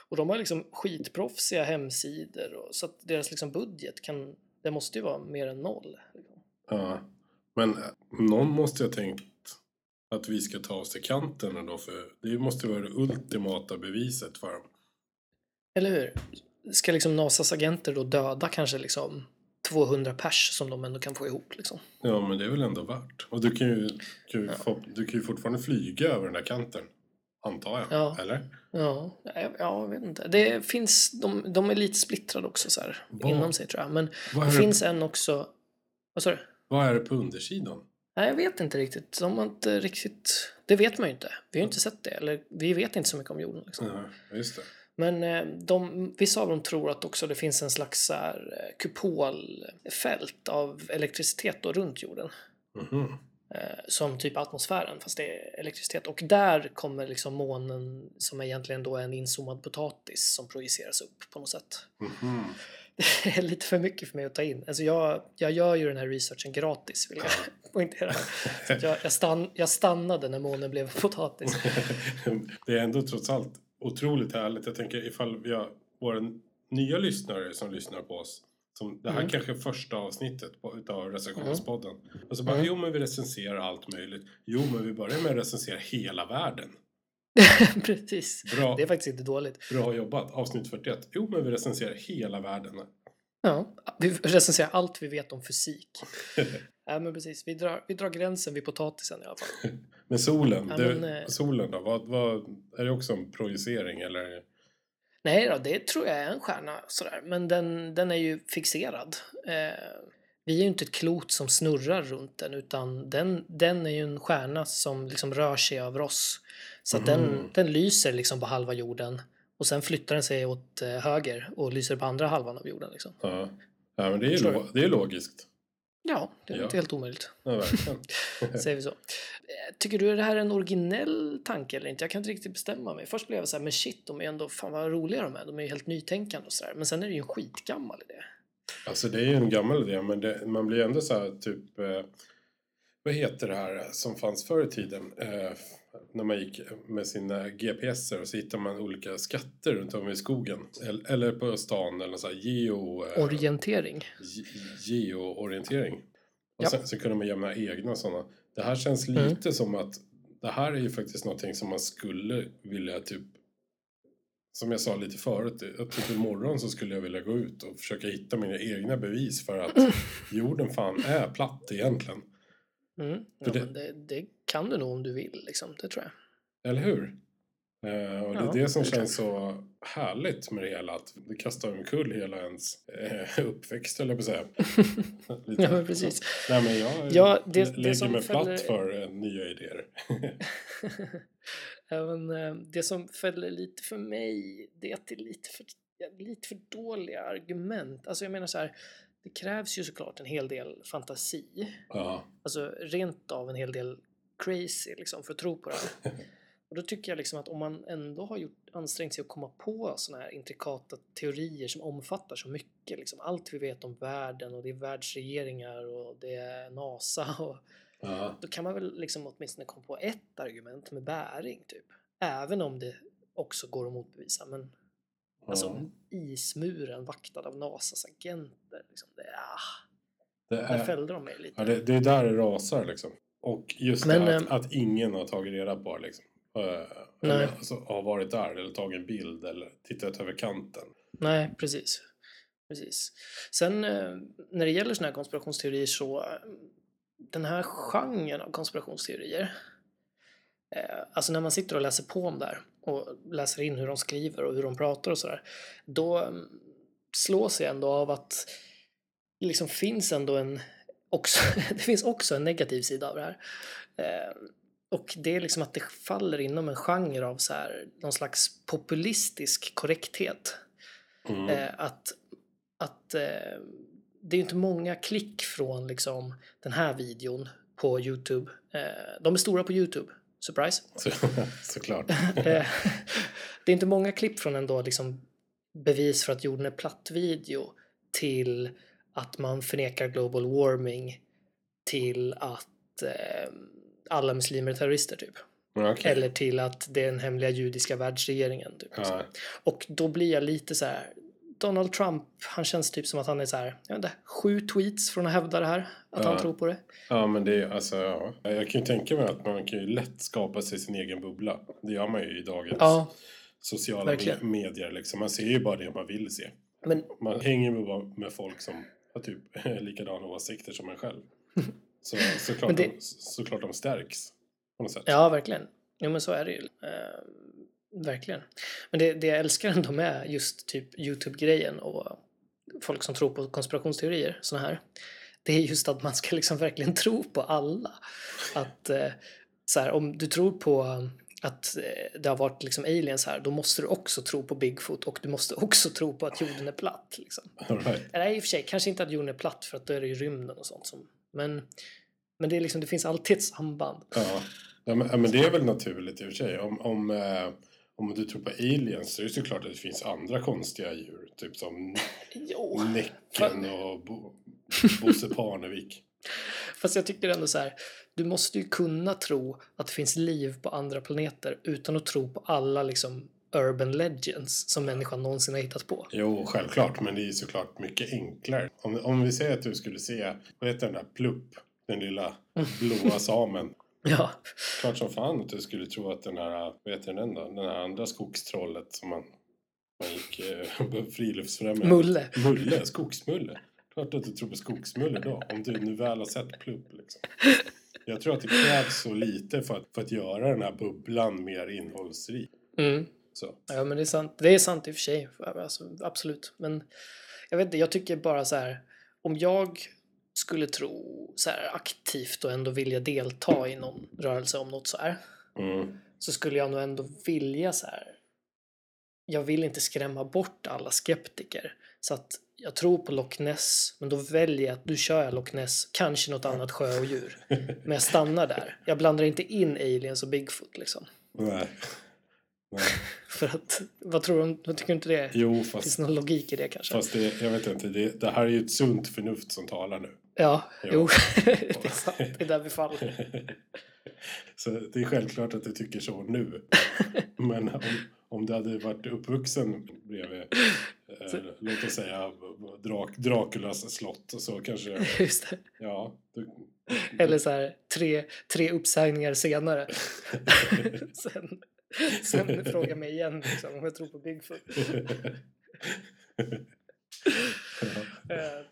[SPEAKER 2] Och de har liksom skitproffsiga hemsidor och, så att deras liksom budget kan, det måste ju vara mer än noll.
[SPEAKER 1] Ja. Men eh, någon måste ju ha tänkt att vi ska ta oss till kanten ändå för det måste ju vara det ultimata beviset för dem.
[SPEAKER 2] Eller hur? Ska liksom NASAs agenter då döda kanske liksom 200 pers som de ändå kan få ihop liksom?
[SPEAKER 1] Ja men det är väl ändå värt. Och du kan ju, kan ju, få, du kan ju fortfarande flyga över den där kanten. Antar jag.
[SPEAKER 2] Ja.
[SPEAKER 1] Eller?
[SPEAKER 2] Ja, jag, jag vet inte. Det finns, de, de är lite splittrade också så här
[SPEAKER 1] Vad-
[SPEAKER 2] inom sig tror jag. Men
[SPEAKER 1] Vad
[SPEAKER 2] det
[SPEAKER 1] är,
[SPEAKER 2] finns en också, vad sa du?
[SPEAKER 1] vad är det på undersidan?
[SPEAKER 2] Nej, jag vet inte riktigt. De har inte riktigt... Det vet man ju inte. Vi har ju inte sett det. Eller vi vet inte så mycket om jorden. Liksom.
[SPEAKER 1] Ja, just det.
[SPEAKER 2] Men eh, de, vissa av dem tror att också det finns en slags så här, eh, kupolfält av elektricitet då runt jorden.
[SPEAKER 1] Mhm.
[SPEAKER 2] eh, som typ atmosfären fast det är elektricitet. Och där kommer liksom månen som egentligen då är en inzoomad potatis som projiceras upp på något sätt.
[SPEAKER 1] Mhm.
[SPEAKER 2] (laughs) Det är lite för mycket för mig att ta in. Alltså jag, jag gör ju den här researchen gratis vill jag
[SPEAKER 1] (laughs)
[SPEAKER 2] poängtera. Så att Jag, jag, stann, jag stannade när månen
[SPEAKER 1] (laughs)
[SPEAKER 2] blev potatis. (laughs)
[SPEAKER 1] Det är ändå trots allt otroligt härligt. Jag tänker ifall vi har våra nya lyssnare som lyssnar på oss. Som, det här
[SPEAKER 2] Mm.
[SPEAKER 1] kanske är första avsnittet på, utav recensionspodden. Och så bara,
[SPEAKER 2] Mm.
[SPEAKER 1] jo men vi recenserar allt möjligt. Jo men vi börjar med att recensera hela världen.
[SPEAKER 2] Precis.
[SPEAKER 1] Bra,
[SPEAKER 2] Det är faktiskt inte dåligt.
[SPEAKER 1] bra jobbat. Avsnitt 41. Jo men vi recenserar hela världen.
[SPEAKER 2] Ja, vi recenserar allt vi vet om fysik. Ja, men precis. Vi drar, vi drar gränsen vid potatisen i alla fall.
[SPEAKER 1] Men solen,
[SPEAKER 2] Ja,
[SPEAKER 1] det,
[SPEAKER 2] men, eh,
[SPEAKER 1] solen då? Vad, vad, är det också en projicering eller?
[SPEAKER 2] Nej då, det tror jag är en stjärna sådär. Men den, den är ju fixerad. Eh, vi är ju inte ett klot som snurrar runt den utan den, den är ju en stjärna som liksom rör sig över oss. Så att
[SPEAKER 1] Mhm.
[SPEAKER 2] den, den lyser liksom på halva jorden och sen flyttar den sig åt eh, höger och lyser på andra halvan av jorden. Liksom.
[SPEAKER 1] Ja, ja men det är, ju
[SPEAKER 2] Förstår
[SPEAKER 1] lo- det är logiskt.
[SPEAKER 2] Ja, det är
[SPEAKER 1] Ja.
[SPEAKER 2] inte helt omöjligt.
[SPEAKER 1] Ja, verkligen.
[SPEAKER 2] Säger vi så. Eh, Tycker du är det här en originell tanke eller inte? Jag kan inte riktigt bestämma mig. Först blev jag så här, men shit, de är ändå, fan vad roliga de är. De är ju helt nytänkande och sådär. Men sen är det ju en skitgammal idé.
[SPEAKER 1] Alltså det är ju en gammal idé men det, man blir ändå så här typ eh, vad heter det här som fanns förr i tiden eh, när man gick med sina GPSer och så hittar man olika skatter runt om i skogen eller, eller på stan eller så här geo, eh,
[SPEAKER 2] Orientering.
[SPEAKER 1] ge- geoorientering. Och
[SPEAKER 2] Ja.
[SPEAKER 1] sen, så kunde man jämna egna sådana. Det här känns
[SPEAKER 2] Mm.
[SPEAKER 1] lite som att det här är ju faktiskt någonting som man skulle vilja typ som jag sa lite förut, att typ imorgon så skulle jag vilja gå ut och försöka hitta mina egna bevis för att
[SPEAKER 2] (laughs)
[SPEAKER 1] jorden fan är platt egentligen.
[SPEAKER 2] Mm. Ja,
[SPEAKER 1] För det-
[SPEAKER 2] det... Men det, det kan du nog om du vill, liksom. det tror jag.
[SPEAKER 1] Eller hur? Eh, och det är
[SPEAKER 2] Ja,
[SPEAKER 1] det som
[SPEAKER 2] det är
[SPEAKER 1] känns så härligt med det hela, att det kastar omkull hela ens eh, uppväxt, eller på att säga. Lite.
[SPEAKER 2] (laughs) Ja, men precis. (laughs)
[SPEAKER 1] Nej, men jag
[SPEAKER 2] Ja, det-
[SPEAKER 1] lä-
[SPEAKER 2] det
[SPEAKER 1] lägger
[SPEAKER 2] som
[SPEAKER 1] mig
[SPEAKER 2] fäller-
[SPEAKER 1] platt för eh, nya idéer.
[SPEAKER 2] Även, eh, det som fäller lite för mig, det är att det är lite för, ja, lite för dåliga argument. Alltså jag menar så här, det krävs ju såklart en hel del fantasi.
[SPEAKER 1] Ja,
[SPEAKER 2] alltså rent av en hel del crazy liksom för att tro på det
[SPEAKER 1] (laughs)
[SPEAKER 2] här. Och då tycker jag liksom att om man ändå har gjort, ansträngt sig att komma på sådana här intrikata teorier som omfattar så mycket, liksom allt vi vet om världen och det är världsregeringar och det är NASA (laughs) och
[SPEAKER 1] ja,
[SPEAKER 2] då kan man väl liksom åtminstone komma på ett argument med bäring typ. Även om det också går att motbevisa men
[SPEAKER 1] ja.
[SPEAKER 2] alltså ismuren vaktad av NASAs agenter, liksom, det, ah,
[SPEAKER 1] Det,
[SPEAKER 2] där
[SPEAKER 1] är,
[SPEAKER 2] fällde de mig lite.
[SPEAKER 1] ja, det, det är där det rasar liksom. Och just
[SPEAKER 2] Men,
[SPEAKER 1] det att,
[SPEAKER 2] ehm,
[SPEAKER 1] att ingen har tagit reda på det, liksom. Eh,
[SPEAKER 2] Nej.
[SPEAKER 1] eller, alltså, har varit där eller tagit en bild eller tittat över kanten.
[SPEAKER 2] Nej, precis. precis. Sen eh, när det gäller såna här konspirationsteorier så eh, den här genren av konspirationsteorier eh, Alltså när man sitter och läser på om det här och läser in hur de skriver och hur de pratar och sådär då eh, slås jag ändå av att det liksom finns ändå en också, (laughs) det finns också en negativ sida av det här. Eh, och det är liksom att det faller inom en genre av så här, någon slags populistisk korrekthet.
[SPEAKER 1] Mm.
[SPEAKER 2] Eh, att att eh, det är ju inte många klick från liksom, den här videon på Youtube. Eh, de är stora på Youtube. Surprise.
[SPEAKER 1] (laughs) Så, såklart.
[SPEAKER 2] Eh, det är inte många klipp från en då liksom bevis för att jorden är platt-video till att man förnekar global warming till att eh, alla muslimer är terrorister typ.
[SPEAKER 1] Men okej.
[SPEAKER 2] Eller till att det är den hemliga judiska världsregeringen. Typ, liksom.
[SPEAKER 1] Ja,
[SPEAKER 2] Och då blir jag lite så här. Donald Trump, han känns typ som att han är så här, jag vet inte, sju tweets från att hävda det här, att han
[SPEAKER 1] Ja.
[SPEAKER 2] tror på det.
[SPEAKER 1] ja, men det är alltså, ja. Jag kan ju tänka mig att man kan ju lätt skapa sig sin egen bubbla. Det gör man ju i dagens
[SPEAKER 2] Ja,
[SPEAKER 1] sociala
[SPEAKER 2] verkligen.
[SPEAKER 1] me- medier liksom. Man ser ju bara det man vill se.
[SPEAKER 2] men
[SPEAKER 1] Man hänger med, bara med folk som har typ (laughs) likadana åsikter som en själv. Så, såklart,
[SPEAKER 2] Men det-
[SPEAKER 1] de, såklart de stärks på något sätt.
[SPEAKER 2] ja, verkligen. Jo, men så är det ju. Eh, verkligen. Men det, det jag älskar ändå med just typ Youtube-grejen och folk som tror på konspirationsteorier, såna här, det är just att man ska liksom verkligen tro på alla. Att eh, så här, om du tror på att eh, det har varit liksom aliens här, då måste du också tro på Bigfoot och du måste också tro på att jorden är platt. Liksom.
[SPEAKER 1] (laughs) All right.
[SPEAKER 2] Nej, i och för sig, kanske inte att jorden är platt för att då är det ju rymden och sånt som... Men Men det, är liksom, det finns alltid ett samband.
[SPEAKER 1] Ja. Ja, men, ja, men det är väl naturligt i och för sig. Om, om, eh, om du tror på aliens så är det såklart att det finns andra konstiga djur. Typ som
[SPEAKER 2] Jo.
[SPEAKER 1] Näcken och Bo, Bosse Parnevik. (laughs)
[SPEAKER 2] Fast jag tycker ändå så här, du måste ju kunna tro att det finns liv på andra planeter utan att tro på alla liksom urban legends som människan någonsin har hittat på.
[SPEAKER 1] Jo, självklart, men det är ju såklart mycket enklare. Om, om vi säger att du skulle se, vad heter den där Plupp? Den lilla
[SPEAKER 2] Mm.
[SPEAKER 1] blåa samen.
[SPEAKER 2] Ja,
[SPEAKER 1] Klart som fan att du skulle tro att den här, vad heter den då? Den här andra skogstrollet som man, man gick eh, (laughs) friluftsfrämjande.
[SPEAKER 2] Mulle.
[SPEAKER 1] Mulle, skogsmulle. Klart att du tror på skogsmulle då, om du nu väl har sett Plupp liksom. Jag tror att det krävs så lite för att, för att göra den här bubblan mer innehållsrik.
[SPEAKER 2] Mm.
[SPEAKER 1] Så.
[SPEAKER 2] Ja, men det är sant. Det är sant i och för sig. Alltså, absolut. Men jag vet inte, jag tycker bara så här. Om jag skulle tro så här aktivt och ändå vilja delta i någon rörelse om något så här.
[SPEAKER 1] Mm.
[SPEAKER 2] Så skulle jag nog ändå vilja så här. Jag vill inte skrämma bort alla skeptiker. Så att jag tror på Loch Ness, men då väljer jag att du kör jag Loch Ness, kanske något annat sjö och djur. Men jag stannar där. Jag blandar inte in aliens och Bigfoot liksom.
[SPEAKER 1] Nej. Nej.
[SPEAKER 2] För att, vad tror du? om- Vad tycker du inte det? är?
[SPEAKER 1] Jo,
[SPEAKER 2] Finns
[SPEAKER 1] fast,
[SPEAKER 2] det någon logik i det kanske?
[SPEAKER 1] fast det, jag vet inte. Det, det här är ju ett sunt förnuft som talar nu.
[SPEAKER 2] Ja,
[SPEAKER 1] Ja.
[SPEAKER 2] jo. (laughs) det är sant. Det är där vi faller.
[SPEAKER 1] (laughs) Så det är självklart att du tycker så nu. Men om, om du hade varit uppvuxen bredvid, eh, låt oss säga, Drak, Draculas slott och så kanske,
[SPEAKER 2] Just det.
[SPEAKER 1] ja. Du, (laughs)
[SPEAKER 2] Eller så här, tre, tre uppsägningar (laughs) senare. sen, sen fråga mig igen liksom, om jag tror på (laughs) Bigfoot. Eh,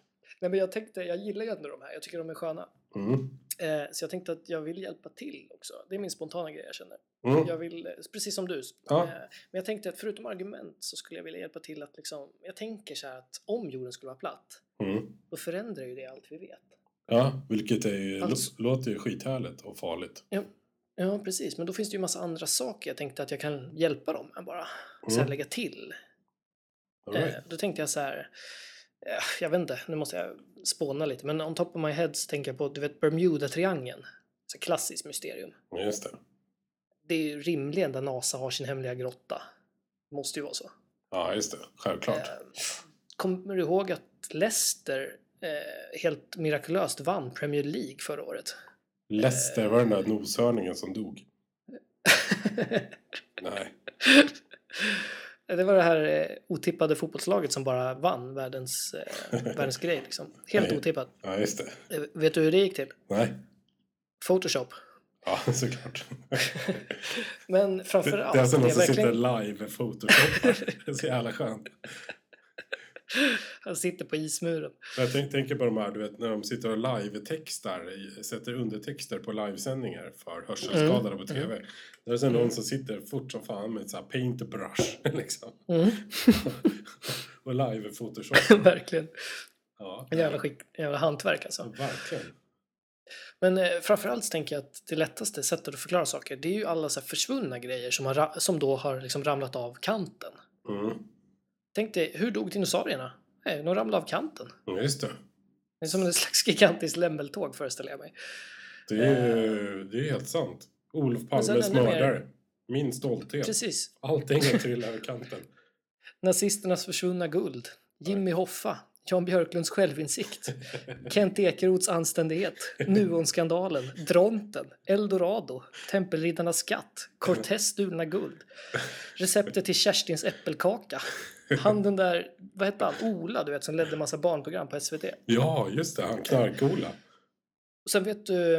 [SPEAKER 2] nej, men jag tänkte, jag gillar ju ändå de här. Jag tycker de är sköna.
[SPEAKER 1] mm.
[SPEAKER 2] Eh, så jag tänkte att jag vill hjälpa till också. Det är min spontana grej jag känner. Jag
[SPEAKER 1] Mm.
[SPEAKER 2] vill, eh, precis som du.
[SPEAKER 1] Ja.
[SPEAKER 2] Eh, Men jag tänkte att förutom argument så skulle jag vilja hjälpa till att liksom, jag tänker så här att om jorden skulle vara platt,
[SPEAKER 1] Mm.
[SPEAKER 2] då förändrar ju det allt vi vet.
[SPEAKER 1] ja, vilket är ju,
[SPEAKER 2] Alltså-
[SPEAKER 1] lå- låter ju skithärligt och farligt.
[SPEAKER 2] Ja, precis. Men då finns det ju massa andra saker jag tänkte att jag kan hjälpa dem med bara. Så här
[SPEAKER 1] Mm.
[SPEAKER 2] lägga till.
[SPEAKER 1] All
[SPEAKER 2] Eh,
[SPEAKER 1] right.
[SPEAKER 2] Då tänkte jag så här. eh, Jag vet inte, nu måste jag spåna lite. Men on top of my head så tänker jag på, du vet Bermuda-triangeln. Så klassiskt mysterium.
[SPEAKER 1] Ja, Just det.
[SPEAKER 2] Det är ju rimligen där NASA har sin hemliga grotta. Måste ju vara så.
[SPEAKER 1] Ja, just det. Självklart.
[SPEAKER 2] Eh, Kommer du ihåg att Leicester eh, helt mirakulöst vann Premier League
[SPEAKER 1] (laughs)
[SPEAKER 2] förra året?
[SPEAKER 1] Leicester var den där noshörningen som dog. Nej.
[SPEAKER 2] Det var det här eh, otippade fotbollslaget som bara vann världens, eh, världens grej. Liksom. Helt
[SPEAKER 1] Nej.
[SPEAKER 2] otippat.
[SPEAKER 1] Ja, just det.
[SPEAKER 2] Eh, Vet du hur det gick till?
[SPEAKER 1] Nej.
[SPEAKER 2] Photoshop.
[SPEAKER 1] Ja, (laughs) såklart.
[SPEAKER 2] Men
[SPEAKER 1] Det,
[SPEAKER 2] framför
[SPEAKER 1] det
[SPEAKER 2] allt,
[SPEAKER 1] är alltså någon som sitter
[SPEAKER 2] verkligen,
[SPEAKER 1] live och photoshoppar. Det är så jävla skönt.
[SPEAKER 2] han sitter på ismuren.
[SPEAKER 1] Jag tänk, tänker på de här, du vet, när de sitter och live-textar, i- sätter undertexter på livesändningar för hörselskadade
[SPEAKER 2] Mm.
[SPEAKER 1] på TV. Där är det någon som sitter fort som fan med ett så här paintbrush, (laughs) liksom.
[SPEAKER 2] Mm,
[SPEAKER 1] Och live-photoshoppar.
[SPEAKER 2] (laughs) verkligen.
[SPEAKER 1] Ja,
[SPEAKER 2] Jävla, skick, jävla hantverk
[SPEAKER 1] ja,
[SPEAKER 2] alltså.
[SPEAKER 1] verkligen.
[SPEAKER 2] Men eh, framförallt så tänker jag att det lättaste sättet att förklara saker det är ju alla så här försvunna grejer som, har, ra- som då har liksom ramlat av kanten.
[SPEAKER 1] Mm.
[SPEAKER 2] Tänk dig, hur dog dinosaurierna? Nej, de ramlade av kanten.
[SPEAKER 1] Ja, Just det.
[SPEAKER 2] Det är som en slags gigantiskt lämmeltåg föreställer jag mig.
[SPEAKER 1] Det är, ju- det är helt sant. Olof
[SPEAKER 2] Men Eh. sen
[SPEAKER 1] Palmes
[SPEAKER 2] ännu mer-
[SPEAKER 1] mördare. Min stolthet.
[SPEAKER 2] Precis.
[SPEAKER 1] Allting har trillat över kanten.
[SPEAKER 2] Nazisternas försvunna guld, Jimmy Hoffa, Jan Björklunds självinsikt, Kent Ekeroths anständighet, Nuonskandalen, Dronten, Eldorado, Tempelriddarnas skatt, Cortez stulna guld, receptet till Kerstins äppelkaka, han den där, vad hette han, Ola du vet som ledde massa barnprogram på SVT.
[SPEAKER 1] Ja, just det. Han knark-Ola.
[SPEAKER 2] Och sen vet du,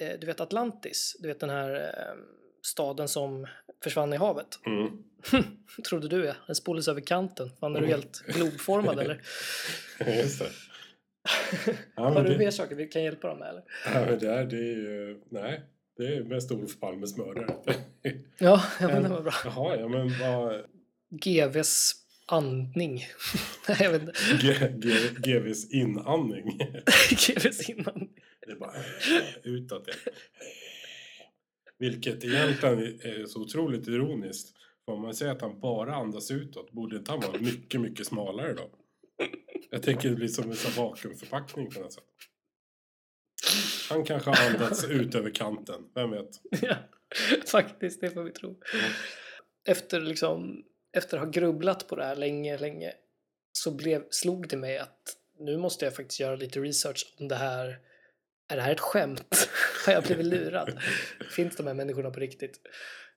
[SPEAKER 2] eh, du vet Atlantis, du vet den här eh, staden som försvann i havet.
[SPEAKER 1] Mm.
[SPEAKER 2] Trodde du ja, den spolades över kanten. Fan är du helt globformad eller?
[SPEAKER 1] Just
[SPEAKER 2] (laughs)
[SPEAKER 1] det. Ja,
[SPEAKER 2] Har
[SPEAKER 1] men
[SPEAKER 2] du
[SPEAKER 1] det,
[SPEAKER 2] mer saker vi kan hjälpa dem med eller?
[SPEAKER 1] ja, men det, här, det är ju... Nej, det är mest Olof Palmes mördare. (laughs)
[SPEAKER 2] Ja, ja men det var bra.
[SPEAKER 1] Jaha, ja men vad...
[SPEAKER 2] GVs andning. (laughs) Nej, jag vet inte.
[SPEAKER 1] G- G- GVs inandning. (laughs)
[SPEAKER 2] GVs inandning. (laughs)
[SPEAKER 1] Det är bara utåt. det. Vilket egentligen är så otroligt ironiskt. För om man säger att han bara andas utåt, borde inte han vara mycket, mycket smalare då? Jag tänker det blir som en sån här vakuumförpackning på något sätt. Han kanske har andats ut över kanten, vem vet?
[SPEAKER 2] Ja, faktiskt, det får vi tro. Efter, liksom, efter att ha grubblat på det här länge, länge så blev, slog det mig att nu måste jag faktiskt göra lite research om det här. Är det här ett skämt? (laughs) Har jag blivit lurad? Finns de här människorna på riktigt?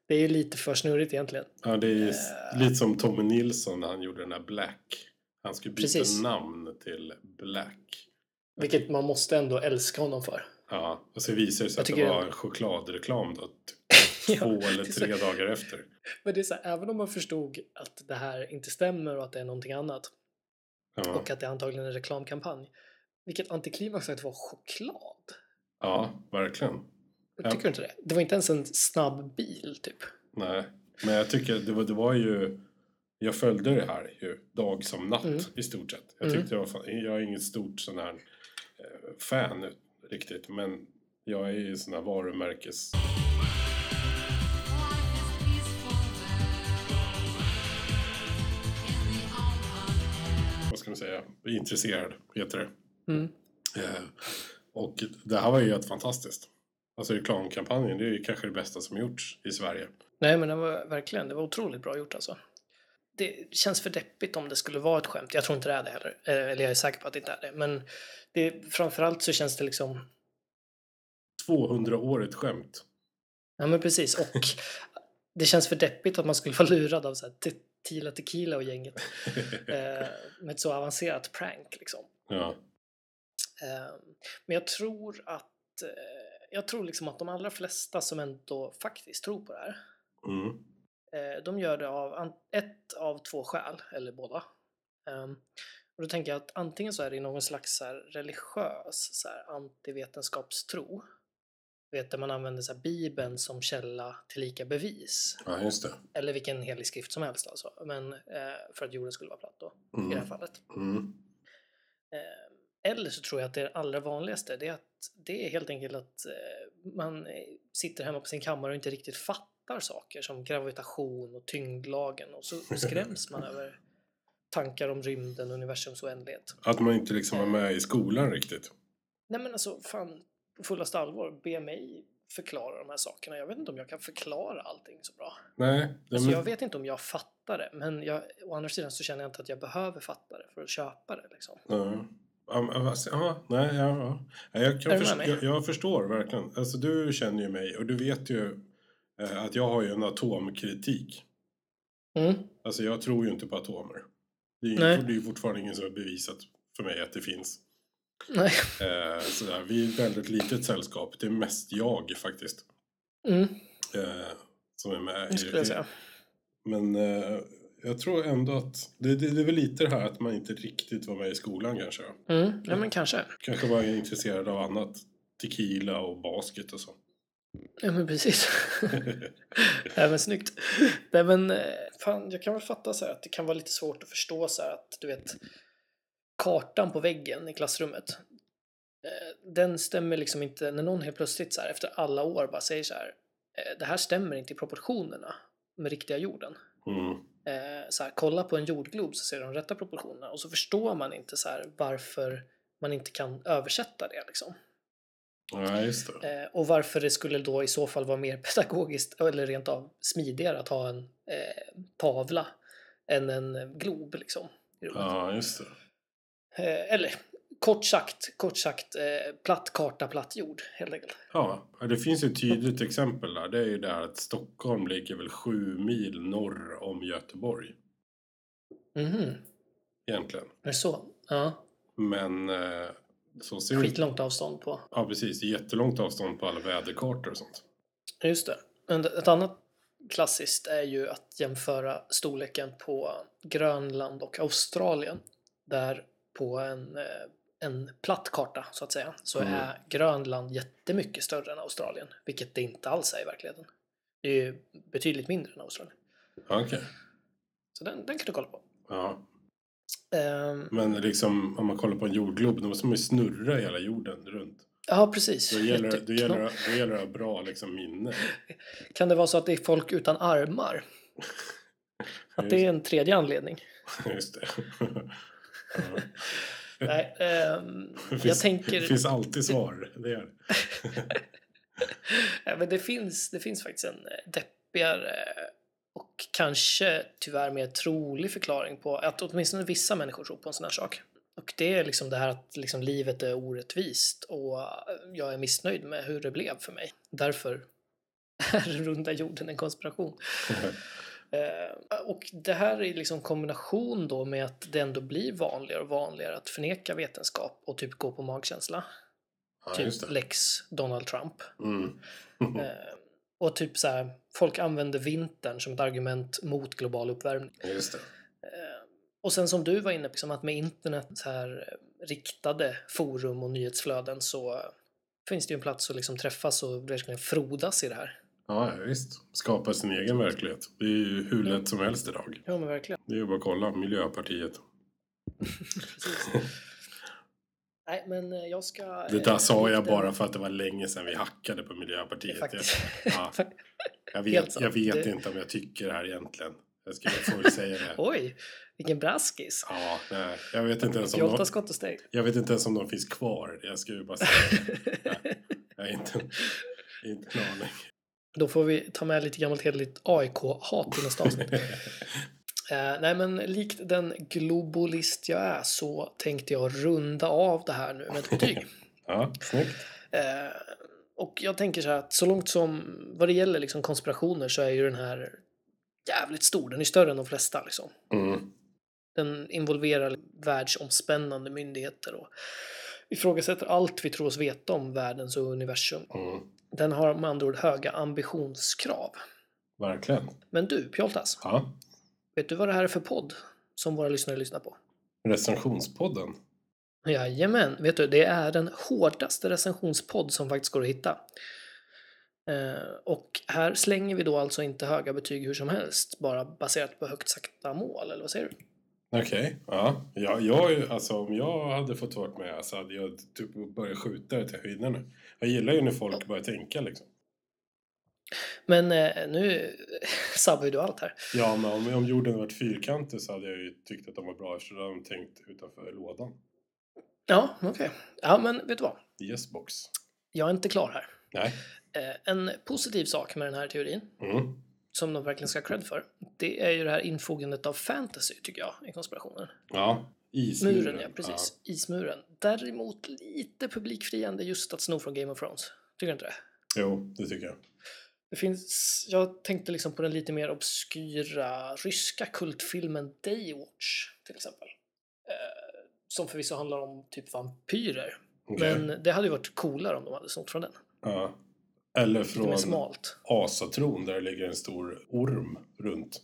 [SPEAKER 2] Det är ju lite för snurrigt egentligen.
[SPEAKER 1] Ja, det är ju s-
[SPEAKER 2] Eh.
[SPEAKER 1] lite som Tommy Nilsson när han gjorde den här Black. Han skulle byta
[SPEAKER 2] Precis.
[SPEAKER 1] namn till Black.
[SPEAKER 2] Vilket man måste ändå älska honom för.
[SPEAKER 1] Ja, och så visar det sig
[SPEAKER 2] Jag
[SPEAKER 1] att det
[SPEAKER 2] tycker-
[SPEAKER 1] var en chokladreklam då, typ
[SPEAKER 2] (laughs) Ja,
[SPEAKER 1] två eller
[SPEAKER 2] det är så-
[SPEAKER 1] tre dagar efter.
[SPEAKER 2] Men det är så här, även om man förstod att det här inte stämmer och att det är någonting annat
[SPEAKER 1] Ja,
[SPEAKER 2] och att det antagligen är en reklamkampanj. Vilket antiklimax att det var choklad.
[SPEAKER 1] ja verkligen. Ja.
[SPEAKER 2] Tycker du inte det? Det var inte ens en snabb bil typ.
[SPEAKER 1] Nej, men jag tycker det var, det var ju... Jag följde det här ju dag som natt
[SPEAKER 2] Mm.
[SPEAKER 1] i stort sett. Jag
[SPEAKER 2] Mm.
[SPEAKER 1] tyckte det var fan, jag är inget stort sån här eh, fan riktigt, men jag är ju sån här varumärkes... Vad ska man säga? Intresserad, heter det.
[SPEAKER 2] Mm.
[SPEAKER 1] Eh, Och det här var ju helt fantastiskt. Alltså reklamkampanjen, det är ju kanske det bästa som gjorts i Sverige.
[SPEAKER 2] Nej men det var verkligen, det var otroligt bra gjort alltså. Det känns för deppigt om det skulle vara ett skämt. Jag tror inte det är det heller. Eh, Eller jag är säker på att det inte är det. Men det, framförallt så känns det liksom
[SPEAKER 1] 200-årigt
[SPEAKER 2] (laughs)
[SPEAKER 1] skämt.
[SPEAKER 2] Ja men precis
[SPEAKER 1] (laughs)
[SPEAKER 2] och det känns för deppigt att man skulle vara lurad av så här Te- Tila Tequila
[SPEAKER 1] (laughs)
[SPEAKER 2] och gänget eh, med ett så avancerat prank liksom.
[SPEAKER 1] Ja.
[SPEAKER 2] Eh, men jag tror att eh, jag tror liksom att de allra flesta som ändå faktiskt tror på det här
[SPEAKER 1] Mm.
[SPEAKER 2] eh, de gör det av an- ett av två skäl eller båda. Eh, och då tänker jag att antingen så är det någon slags så här religiös så här antivetenskapstro. Vet där man använder så här bibeln som källa till lika bevis.
[SPEAKER 1] Ja, just det.
[SPEAKER 2] eller vilken helig skrift som helst alltså, men eh, för att jorden skulle vara platt då, i det här
[SPEAKER 1] Mm.
[SPEAKER 2] fallet.
[SPEAKER 1] Mm.
[SPEAKER 2] Eh, eller så tror jag att det allra vanligaste det är att det är helt enkelt att eh, man eh, sitter hemma på sin kammare och inte riktigt fattar saker som gravitation och tyngdlagen och så skräms man över tankar om rymden och universums oändlighet.
[SPEAKER 1] Att man inte liksom var med i skolan riktigt.
[SPEAKER 2] Nej men alltså fan, på fullaste allvar, be mig förklara de här sakerna. Jag vet inte om jag kan förklara allting så bra.
[SPEAKER 1] Nej, det,
[SPEAKER 2] Alltså
[SPEAKER 1] men,
[SPEAKER 2] jag vet inte om jag fattar det, men jag, å andra sidan så känner jag inte att jag behöver fatta det för att köpa det. Liksom.
[SPEAKER 1] ja. Ja, men, alltså, ja, nej, ja, ja. Nej, Jag,
[SPEAKER 2] Är
[SPEAKER 1] kan
[SPEAKER 2] du
[SPEAKER 1] först-
[SPEAKER 2] med mig?
[SPEAKER 1] jag, jag förstår verkligen. Alltså, du känner ju mig och du vet ju eh, att jag har ju en atomkritik. Alltså jag tror ju inte på atomer. Det är ju
[SPEAKER 2] Nej.
[SPEAKER 1] det är ju fortfarande ingen som har bevisat för mig att det finns.
[SPEAKER 2] Nej.
[SPEAKER 1] Eh, sådär. Vi är ett väldigt litet sällskap. Det är mest jag faktiskt
[SPEAKER 2] Mm,
[SPEAKER 1] eh, som är med
[SPEAKER 2] det skulle jag
[SPEAKER 1] i,
[SPEAKER 2] säga.
[SPEAKER 1] Men eh, jag tror ändå att det, det, det är väl lite det här att man inte riktigt var med i skolan kanske.
[SPEAKER 2] Mm, ja, men kanske.
[SPEAKER 1] Kanske var intresserad av annat. Tequila och basket och så. (laughs)
[SPEAKER 2] Ja, men precis. (laughs) Nej, men snyggt. Nej, men eh, fan, jag kan väl fatta så här att det kan vara lite svårt att förstå så här att du vet kartan på väggen i klassrummet. eh, Den stämmer liksom inte när någon helt plötsligt så här efter alla år bara säger så här. eh, Det här stämmer inte i proportionerna med riktiga jorden.
[SPEAKER 1] Mm.
[SPEAKER 2] eh, så här, kolla på en jordglob så ser de rätta proportionerna och så förstår man inte så här, varför man inte kan översätta det. Liksom.
[SPEAKER 1] Ja, just det.
[SPEAKER 2] Eh, och varför det skulle då i så fall vara mer (laughs) pedagogiskt eller rent av smidigare att ha en eh, tavla än en eh, glob. Liksom, i rummet.
[SPEAKER 1] Ja, just det.
[SPEAKER 2] eh, eller kort sagt, kort sagt eh, platt karta, platt jord helt enkelt.
[SPEAKER 1] Ja, ja, det finns ju ett tydligt exempel där. Det är ju det här att Stockholm ligger väl sju mil norr om Göteborg
[SPEAKER 2] Mhm,
[SPEAKER 1] egentligen.
[SPEAKER 2] är det så? Ja,
[SPEAKER 1] Men eh, så ser det ut.
[SPEAKER 2] skitlångt avstånd på.
[SPEAKER 1] Ja, precis. Det är Jättelångt avstånd på alla väderkartor och sånt.
[SPEAKER 2] Ja, Just det. Men Ett annat klassiskt är ju att jämföra storleken på Grönland och Australien. Där på en, eh, en platt karta, så att säga, så
[SPEAKER 1] Mm.
[SPEAKER 2] är Grönland jättemycket större än Australien. Vilket det inte alls är i verkligheten. Det är ju betydligt mindre än Australien.
[SPEAKER 1] Okej.
[SPEAKER 2] Så den, den kan du kolla på.
[SPEAKER 1] Ja,
[SPEAKER 2] Ehm,
[SPEAKER 1] Men liksom, om man kollar på en jordglob, då måste man ju snurra hela jorden runt.
[SPEAKER 2] (laughs) ja, precis.
[SPEAKER 1] Då gäller, det- då
[SPEAKER 2] Jätteknopp.
[SPEAKER 1] gäller, det- då gäller det att ha bra liksom,
[SPEAKER 2] (laughs)
[SPEAKER 1] minne.
[SPEAKER 2] Kan det vara så att det är folk utan
[SPEAKER 1] (laughs)
[SPEAKER 2] armar? Att det är en tredje anledning?
[SPEAKER 1] Just (laughs) det. Ja.
[SPEAKER 2] Nej,
[SPEAKER 1] (laughs)
[SPEAKER 2] ehm,
[SPEAKER 1] Det
[SPEAKER 2] jag
[SPEAKER 1] finns, det
[SPEAKER 2] tänker...
[SPEAKER 1] finns alltid svar. Det gör det.
[SPEAKER 2] Ja, Eh, men det, finns, det finns faktiskt en eh, deppigare eh, och kanske tyvärr mer trolig förklaring på att åtminstone vissa människor tror på en sån här sak. Och det är liksom det här att liksom livet är orättvist och eh, jag är missnöjd med hur det blev för mig. Därför (laughs) är runda jorden en konspiration.
[SPEAKER 1] Mm.
[SPEAKER 2] (laughs) Eh, och det här i liksom kombination då med att det ändå blir vanligare och vanligare att förneka vetenskap och typ gå på magkänsla.
[SPEAKER 1] Ja,
[SPEAKER 2] typ
[SPEAKER 1] just det.
[SPEAKER 2] lex Donald Trump.
[SPEAKER 1] Mm.
[SPEAKER 2] Eh, och typ så här, folk använder vintern som ett argument mot global uppvärmning.
[SPEAKER 1] Just det.
[SPEAKER 2] Eh, och sen som du var inne på, liksom att med internet så här eh, riktade forum och nyhetsflöden så eh, finns det ju en plats att liksom träffas och verkligen frodas i det här.
[SPEAKER 1] Ja, ja, visst. Skapa sin egen verklighet. Det är ju hur lätt som helst idag.
[SPEAKER 2] Ja men verkligen.
[SPEAKER 1] Det är ju bara att kolla. Miljöpartiet.
[SPEAKER 2] Precis. (laughs) Nej men eh, jag ska...
[SPEAKER 1] Det
[SPEAKER 2] eh,
[SPEAKER 1] där sa jag
[SPEAKER 2] likt en-
[SPEAKER 1] bara för att det var länge sedan vi hackade på
[SPEAKER 2] det är
[SPEAKER 1] Miljöpartiet.
[SPEAKER 2] Faktiskt.
[SPEAKER 1] Ja. Jag
[SPEAKER 2] Helt
[SPEAKER 1] vet,
[SPEAKER 2] sant.
[SPEAKER 1] jag vet
[SPEAKER 2] Det-
[SPEAKER 1] inte om jag tycker det här egentligen. Jag ska jag får väl säga
[SPEAKER 2] (laughs)
[SPEAKER 1] det.
[SPEAKER 2] (laughs) Oj, vilken braskis.
[SPEAKER 1] Ja, nej. Jag vet inte ens om
[SPEAKER 2] 88
[SPEAKER 1] de,
[SPEAKER 2] skott och steg.
[SPEAKER 1] jag vet inte ens om de finns kvar. Jag ska ju bara säga det. Jag har inte, inte en aning.
[SPEAKER 2] Då får vi ta med lite gammalt hederligt AIK-hat i nästa avsnitt. Eh, nej men likt den globalist jag är så tänkte jag runda av det här nu med ett betyg.
[SPEAKER 1] Ja, snyggt.
[SPEAKER 2] Eh, och jag tänker så här att så långt som vad det gäller liksom konspirationer så är ju den här jävligt stor. Den är större än de flesta liksom.
[SPEAKER 1] Mm.
[SPEAKER 2] Den involverar världsomspännande myndigheter och ifrågasätter allt vi tror oss veta om världens och universum.
[SPEAKER 1] Mm.
[SPEAKER 2] Den har med andra ord höga ambitionskrav.
[SPEAKER 1] Verkligen.
[SPEAKER 2] Men du, Pjoltas,
[SPEAKER 1] Ja.
[SPEAKER 2] vet du vad det här är för podd som våra lyssnare lyssnar på?
[SPEAKER 1] Recensionspodden.
[SPEAKER 2] Jajamän, vet du, det är den hårdaste recensionspodd som faktiskt går att hitta. Eh, och här slänger vi då alltså inte höga betyg hur som helst, bara baserat på högt sakta mål, eller vad säger du?
[SPEAKER 1] Okej, ja. Jag, jag, är ju- alltså, om jag hade fått vara med så hade jag typ börjat skjuta det till höjderna. Jag gillar ju när folk börjar tänka liksom.
[SPEAKER 2] Men eh, nu (laughs) sabbar ju du allt här.
[SPEAKER 1] Ja, men om, om jorden varit fyrkantig så hade jag ju tyckt att de var bra eftersom de tänkt utanför lådan.
[SPEAKER 2] Ja, okej. Ja, men vet du vad?
[SPEAKER 1] Yes box.
[SPEAKER 2] Jag är inte klar här.
[SPEAKER 1] Nej.
[SPEAKER 2] Eh, en positiv sak med den här teorin,
[SPEAKER 1] Mm.
[SPEAKER 2] som de verkligen ska ha cred för, det är ju det här infogandet av fantasy, tycker jag, i konspirationen.
[SPEAKER 1] Ja. Ismuren.
[SPEAKER 2] Muren, ja precis. Ismuren. Däremot lite publikfriande just att sno från Game of Thrones. Tycker du inte det?
[SPEAKER 1] Ja. Jo, det tycker jag.
[SPEAKER 2] Det finns, jag tänkte liksom på den lite mer obskyra ryska kultfilmen Daywatch till exempel. Eh, som förvisso handlar om typ vampyrer.
[SPEAKER 1] Okej.
[SPEAKER 2] Men det hade ju varit coolare om de hade snott från den.
[SPEAKER 1] Ja. Eller
[SPEAKER 2] Lite mer
[SPEAKER 1] från
[SPEAKER 2] smalt.
[SPEAKER 1] asatron där det ligger en stor orm runt.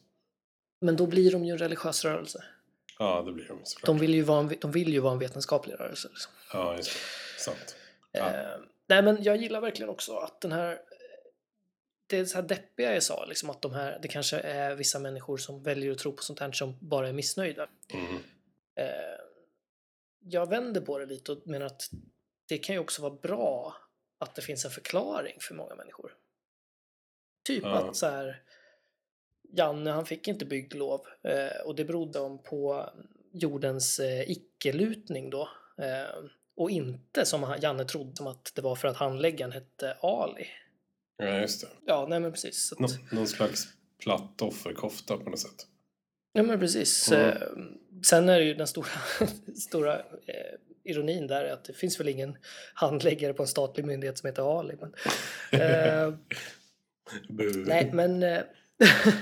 [SPEAKER 2] Men då blir de ju en religiös rörelse.
[SPEAKER 1] Ja, det blir de såklart.
[SPEAKER 2] De vill ju vara en, de vill ju vara en vetenskaplig rörelse. Liksom.
[SPEAKER 1] Ja, just det. Sant. Ja.
[SPEAKER 2] Eh, nej men jag gillar verkligen också att den här eh, det är så här deppiga jag sa, liksom att de här, det kanske är vissa människor som väljer att tro på sånt här som bara är missnöjda.
[SPEAKER 1] Mm.
[SPEAKER 2] Eh, jag vänder på det lite och menar att det kan ju också vara bra att det finns en förklaring för många människor. Typ
[SPEAKER 1] Ja.
[SPEAKER 2] att så här, Janne han fick inte bygglov eh, och det berodde om på jordens eh, icke-lutning då. Eh, och inte som han, Janne trodde som att det var för att handläggaren hette Ali.
[SPEAKER 1] Ja, just det.
[SPEAKER 2] Ja, nej men precis. Så att,
[SPEAKER 1] Nå, någon slags platt offerkofta på något sätt.
[SPEAKER 2] Ja men precis.
[SPEAKER 1] Mm.
[SPEAKER 2] Eh, Sen är det ju den stora, (laughs) stora eh, ironin där är att det finns väl ingen handläggare på en statlig myndighet som heter Ali. Men, eh,
[SPEAKER 1] Bu.
[SPEAKER 2] nej men... eh, (laughs)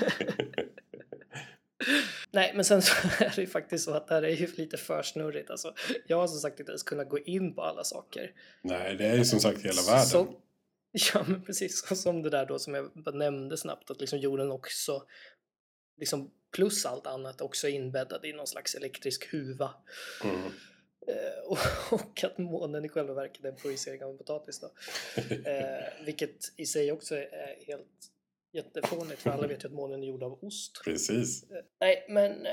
[SPEAKER 2] Nej, men sen så (laughs) är det ju faktiskt så att det här är ju lite för snurrigt. Alltså, jag har som sagt inte ens kunnat gå in på alla saker.
[SPEAKER 1] Nej, det är ju som sagt hela världen.
[SPEAKER 2] Så, (laughs) ja, men precis. Och som det där då som jag bara nämnde snabbt, att liksom jorden också, liksom plus allt annat, också är inbäddad i någon slags elektrisk huva.
[SPEAKER 1] Mm.
[SPEAKER 2] Eh, (laughs) och, och att månen i själva verket är en projicering av en
[SPEAKER 1] (laughs)
[SPEAKER 2] potatis. Då. Eh, vilket i sig också är helt jättefånigt, för alla vet ju att månen är gjord av ost.
[SPEAKER 1] Precis.
[SPEAKER 2] Nej, men eh,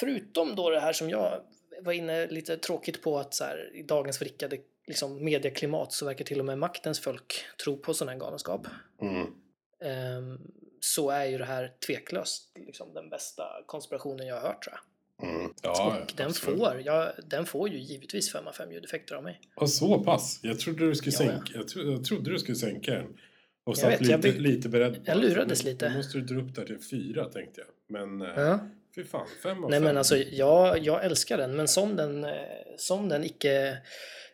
[SPEAKER 2] förutom då det här som jag var inne lite tråkigt på att så här, i dagens vrickade liksom, medieklimat så verkar till och med maktens folk tro på sån här galenskap.
[SPEAKER 1] Mm.
[SPEAKER 2] Ehm, så är ju det här tveklöst liksom, den bästa konspirationen jag har hört tror jag.
[SPEAKER 1] Mm. Ja,
[SPEAKER 2] och den
[SPEAKER 1] absolut.
[SPEAKER 2] får, ja, den får ju givetvis 5 av 5 ljudeffekter av mig.
[SPEAKER 1] Och så pass. Jag trodde du skulle
[SPEAKER 2] Ja, ja.
[SPEAKER 1] sänka, jag, tro, jag trodde du skulle sänka den. Och
[SPEAKER 2] Jag
[SPEAKER 1] satt
[SPEAKER 2] vet,
[SPEAKER 1] lite,
[SPEAKER 2] jag blir-
[SPEAKER 1] lite beredd. på
[SPEAKER 2] jag
[SPEAKER 1] att
[SPEAKER 2] lurades
[SPEAKER 1] nu-
[SPEAKER 2] lite.
[SPEAKER 1] Nu måste du dra upp där till fyra tänkte jag. Men eh,
[SPEAKER 2] Ja.
[SPEAKER 1] fy fan, fem av
[SPEAKER 2] Nej
[SPEAKER 1] fem.
[SPEAKER 2] men alltså jag, jag älskar den men som den, eh, som den icke,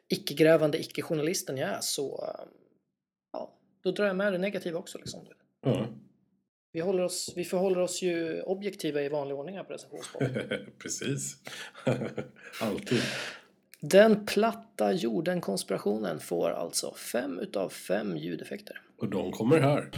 [SPEAKER 2] icke-grävande icke-journalisten jag är så eh, ja, då drar jag med det negativa också. Liksom.
[SPEAKER 1] Ja,
[SPEAKER 2] Vi, håller oss, vi förhåller oss ju objektiva i vanlig ordning här på recensionspodden.
[SPEAKER 1] (laughs) precis. Alltid.
[SPEAKER 2] Den platta jorden-konspirationen får alltså 5 utav 5 ljudeffekter.
[SPEAKER 1] Och de kommer här.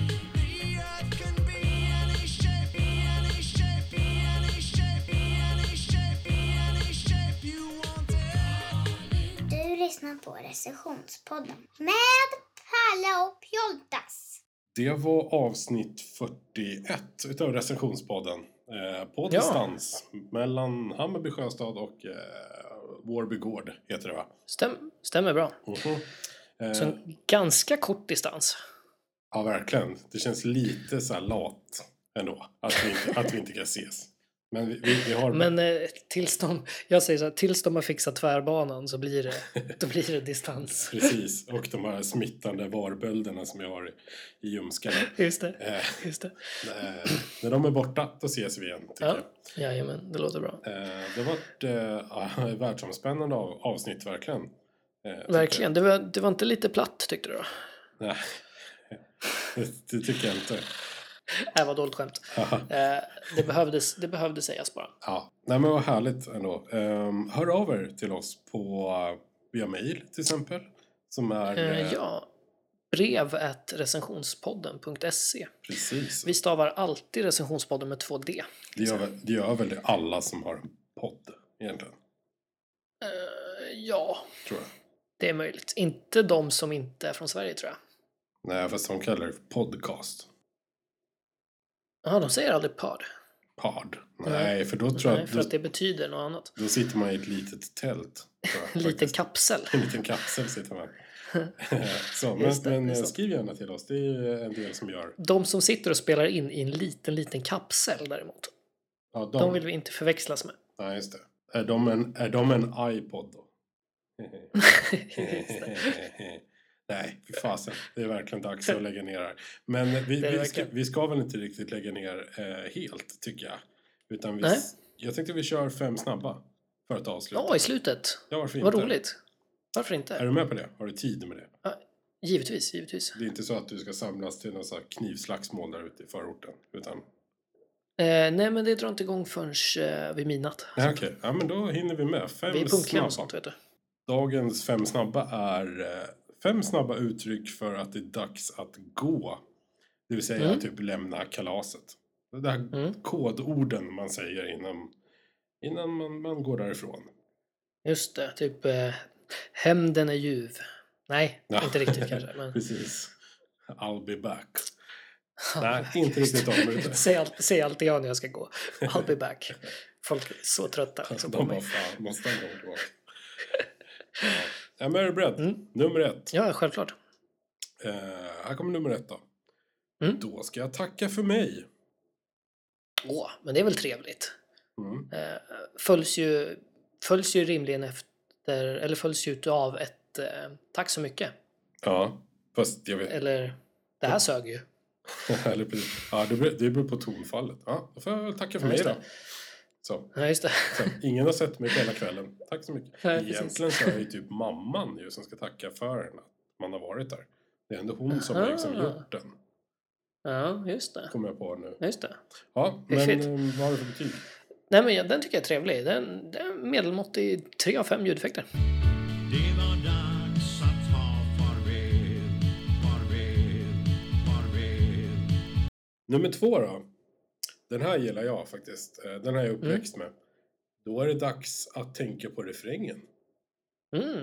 [SPEAKER 3] Du lyssnar på Recessionspodden med Palle och Pjoltas.
[SPEAKER 1] Det var avsnitt 41 utav recensionspodden. Eh, på
[SPEAKER 2] Ja.
[SPEAKER 1] distans mellan Hammarby Sjöstad och eh, Vårby Gård heter det va?
[SPEAKER 2] Stäm, stämmer bra.
[SPEAKER 1] Mhm. Eh,
[SPEAKER 2] Så en ganska kort distans.
[SPEAKER 1] Ja, verkligen. Det känns lite så här lat ändå. Att vi inte, att vi inte kan ses. Men vi, vi, vi har...
[SPEAKER 2] Men eh, tills de, jag säger så här, tills de har fixat tvärbanan så blir det, då blir det distans.
[SPEAKER 1] Precis, och de här smittande varbölderna som jag har i- i ljumskarna.
[SPEAKER 2] Just det,
[SPEAKER 1] Eh,
[SPEAKER 2] just det.
[SPEAKER 1] eh, när de är borta, då ses vi igen, tycker
[SPEAKER 2] Ja,
[SPEAKER 1] jag.
[SPEAKER 2] jajamän, det låter bra.
[SPEAKER 1] Eh, det var ett eh, ja, (laughs) världsomspännande av, avsnitt, verkligen. Eh, tycker
[SPEAKER 2] Verkligen, det var, det var inte lite platt tyckte du då?
[SPEAKER 1] jag. (laughs) Nej, det, det tycker jag inte. (laughs)
[SPEAKER 2] Det var dåligt skämt. Eh, det, behövdes, det behövde sägas bara.
[SPEAKER 1] Ja, nej men vad härligt ändå. Ehm, hör av er till oss på eh, via mail till exempel. Som är... eh,
[SPEAKER 2] Eh, ja, brev at recensionspodden.se.
[SPEAKER 1] Precis.
[SPEAKER 2] Vi stavar alltid recensionspodden med 2D.
[SPEAKER 1] Det gör, väl- det gör väl det alla som har en podd egentligen,
[SPEAKER 2] Eh, ja,
[SPEAKER 1] tror jag.
[SPEAKER 2] det är möjligt. Inte de som inte är från Sverige tror jag.
[SPEAKER 1] Nej, fast de kallar det för podcast.
[SPEAKER 2] Ja, de säger aldrig pod.
[SPEAKER 1] Pod. Nej,
[SPEAKER 2] Nej.
[SPEAKER 1] för då tror jag
[SPEAKER 2] Nej,
[SPEAKER 1] att
[SPEAKER 2] för
[SPEAKER 1] då,
[SPEAKER 2] att det betyder något annat.
[SPEAKER 1] då sitter man i ett litet tält. tror jag,
[SPEAKER 2] (laughs) En liten
[SPEAKER 1] faktiskt.
[SPEAKER 2] kapsel.
[SPEAKER 1] En liten kapsel sitter
[SPEAKER 2] (laughs)
[SPEAKER 1] man. så, men
[SPEAKER 2] Just det,
[SPEAKER 1] men
[SPEAKER 2] det är
[SPEAKER 1] eh,
[SPEAKER 2] sant.
[SPEAKER 1] skriv gärna till oss. Det är ju en del som gör.
[SPEAKER 2] De som sitter och spelar in i en liten, liten kapsel däremot.
[SPEAKER 1] Ja, de,
[SPEAKER 2] De vill vi inte
[SPEAKER 1] (laughs)
[SPEAKER 2] förväxlas med.
[SPEAKER 1] Nej, just det. Är de en, är de en iPod
[SPEAKER 2] (laughs)
[SPEAKER 1] då? (laughs) Nej, fy fasen. Det är verkligen dags att lägga ner här. Men vi,
[SPEAKER 2] Det är
[SPEAKER 1] vi, ska,
[SPEAKER 2] verkligen.
[SPEAKER 1] vi ska väl inte riktigt lägga ner eh, helt, tycker jag. Utan vi,
[SPEAKER 2] Nej.
[SPEAKER 1] jag tänkte vi kör fem snabba för att avsluta.
[SPEAKER 2] Ja, i slutet.
[SPEAKER 1] ja, varför
[SPEAKER 2] Vad
[SPEAKER 1] inte?
[SPEAKER 2] roligt. Varför
[SPEAKER 1] Är
[SPEAKER 2] inte?
[SPEAKER 1] du med på det? Har du tid med det?
[SPEAKER 2] Givetvis, givetvis.
[SPEAKER 1] Det är inte så att du ska samlas till någon sån här knivslagsmål där ute i förorten. Utan...
[SPEAKER 2] Eh, nej, men det drar inte igång förrän eh, vid midnatt.
[SPEAKER 1] Nej, okej. Ja, men då hinner vi med. Fem
[SPEAKER 2] Vi är punktliga och
[SPEAKER 1] snabba.
[SPEAKER 2] sånt, vet du.
[SPEAKER 1] Dagens fem snabba är eh, fem snabba uttryck för att det är dags att gå. Det vill säga
[SPEAKER 2] Mm.
[SPEAKER 1] typ lämna kalaset. Det där
[SPEAKER 2] Mm.
[SPEAKER 1] kodorden man säger innan, innan man, man går därifrån.
[SPEAKER 2] Just det, typ eh, hämnden är ljuv. Nej,
[SPEAKER 1] Ja.
[SPEAKER 2] inte riktigt kanske. Men...
[SPEAKER 1] Precis. I'll be back. (laughs)
[SPEAKER 2] (laughs)
[SPEAKER 1] Nej, inte riktigt de. utan-
[SPEAKER 2] Säg allt- Säg alltid ja när jag ska gå. I'll be back. Folk är så trötta liksom, på
[SPEAKER 1] De bara,
[SPEAKER 2] mig.
[SPEAKER 1] fan, måste han gå
[SPEAKER 2] (laughs)
[SPEAKER 1] tillbaka? Ja. Ja, men är du beredd?
[SPEAKER 2] Mm.
[SPEAKER 1] Nummer ett.
[SPEAKER 2] Ja, självklart.
[SPEAKER 1] Eh, här kommer nummer ett då.
[SPEAKER 2] Mm.
[SPEAKER 1] Då ska jag tacka för mig.
[SPEAKER 2] Åh, men det är väl trevligt.
[SPEAKER 1] Mm.
[SPEAKER 2] Eh, följs, ju, följs ju rimligen efter, eller följs ju av ett eh, tack så mycket.
[SPEAKER 1] Ja, fast jag vet... (laughs)
[SPEAKER 2] Eller det här sög ju.
[SPEAKER 1] Eller precis. Ja, det, beror, det beror på tonfallet. Ja, då får jag väl tacka för
[SPEAKER 2] Ja,
[SPEAKER 1] mig
[SPEAKER 2] just
[SPEAKER 1] då.
[SPEAKER 2] det.
[SPEAKER 1] Så,
[SPEAKER 2] Ja, just det. (laughs)
[SPEAKER 1] så, ingen har sett mig på hela kvällen. Tack så mycket.
[SPEAKER 2] Nej, precis.
[SPEAKER 1] Egentligen så är det ju typ mamman ju som ska tacka för en att man har varit där. Det är ändå hon som har liksom
[SPEAKER 2] Aha.
[SPEAKER 1] gjort den,
[SPEAKER 2] Ja, just det.
[SPEAKER 1] kommer jag på nu.
[SPEAKER 2] Ja, Just det.
[SPEAKER 1] Ja, men
[SPEAKER 2] Fiffigt.
[SPEAKER 1] eh, vad har du för betyg?
[SPEAKER 2] Nej, men jag- den tycker jag är trevlig. Den, den är medelmåttig 3 av 5 ljudeffekter.
[SPEAKER 4] Det var dags att ta farväl, farväl, farväl
[SPEAKER 1] Nummer två då. Den här gillar jag faktiskt. Eh, Den här är
[SPEAKER 2] Mm.
[SPEAKER 1] jag uppväxt med. Då är det dags att tänka på refrängen.
[SPEAKER 2] Mm.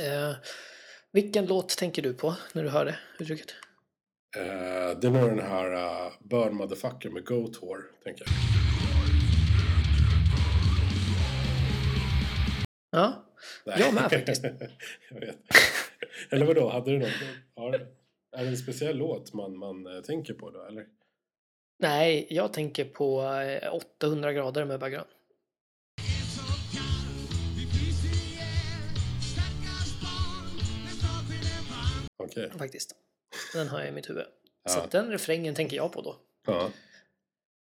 [SPEAKER 2] Eh, vilken låt tänker du på när du hör det uttrycket?
[SPEAKER 1] Eh, det var den här uh, Burn Motherfucker med Goat Whore, tänker jag.
[SPEAKER 2] Ja,
[SPEAKER 1] Nej.
[SPEAKER 2] Jag med, faktiskt.
[SPEAKER 1] (laughs) jag vet. Eller vadå, hade du någon? Har, är det en speciell låt man, man eh, tänker på då, eller?
[SPEAKER 2] nej, jag tänker på eh, 800 grader med Bagran.
[SPEAKER 1] Okej.
[SPEAKER 2] faktiskt. Den har jag i mitt huvud. Så
[SPEAKER 1] Ja.
[SPEAKER 2] att den refrängen tänker jag på då.
[SPEAKER 1] Ja.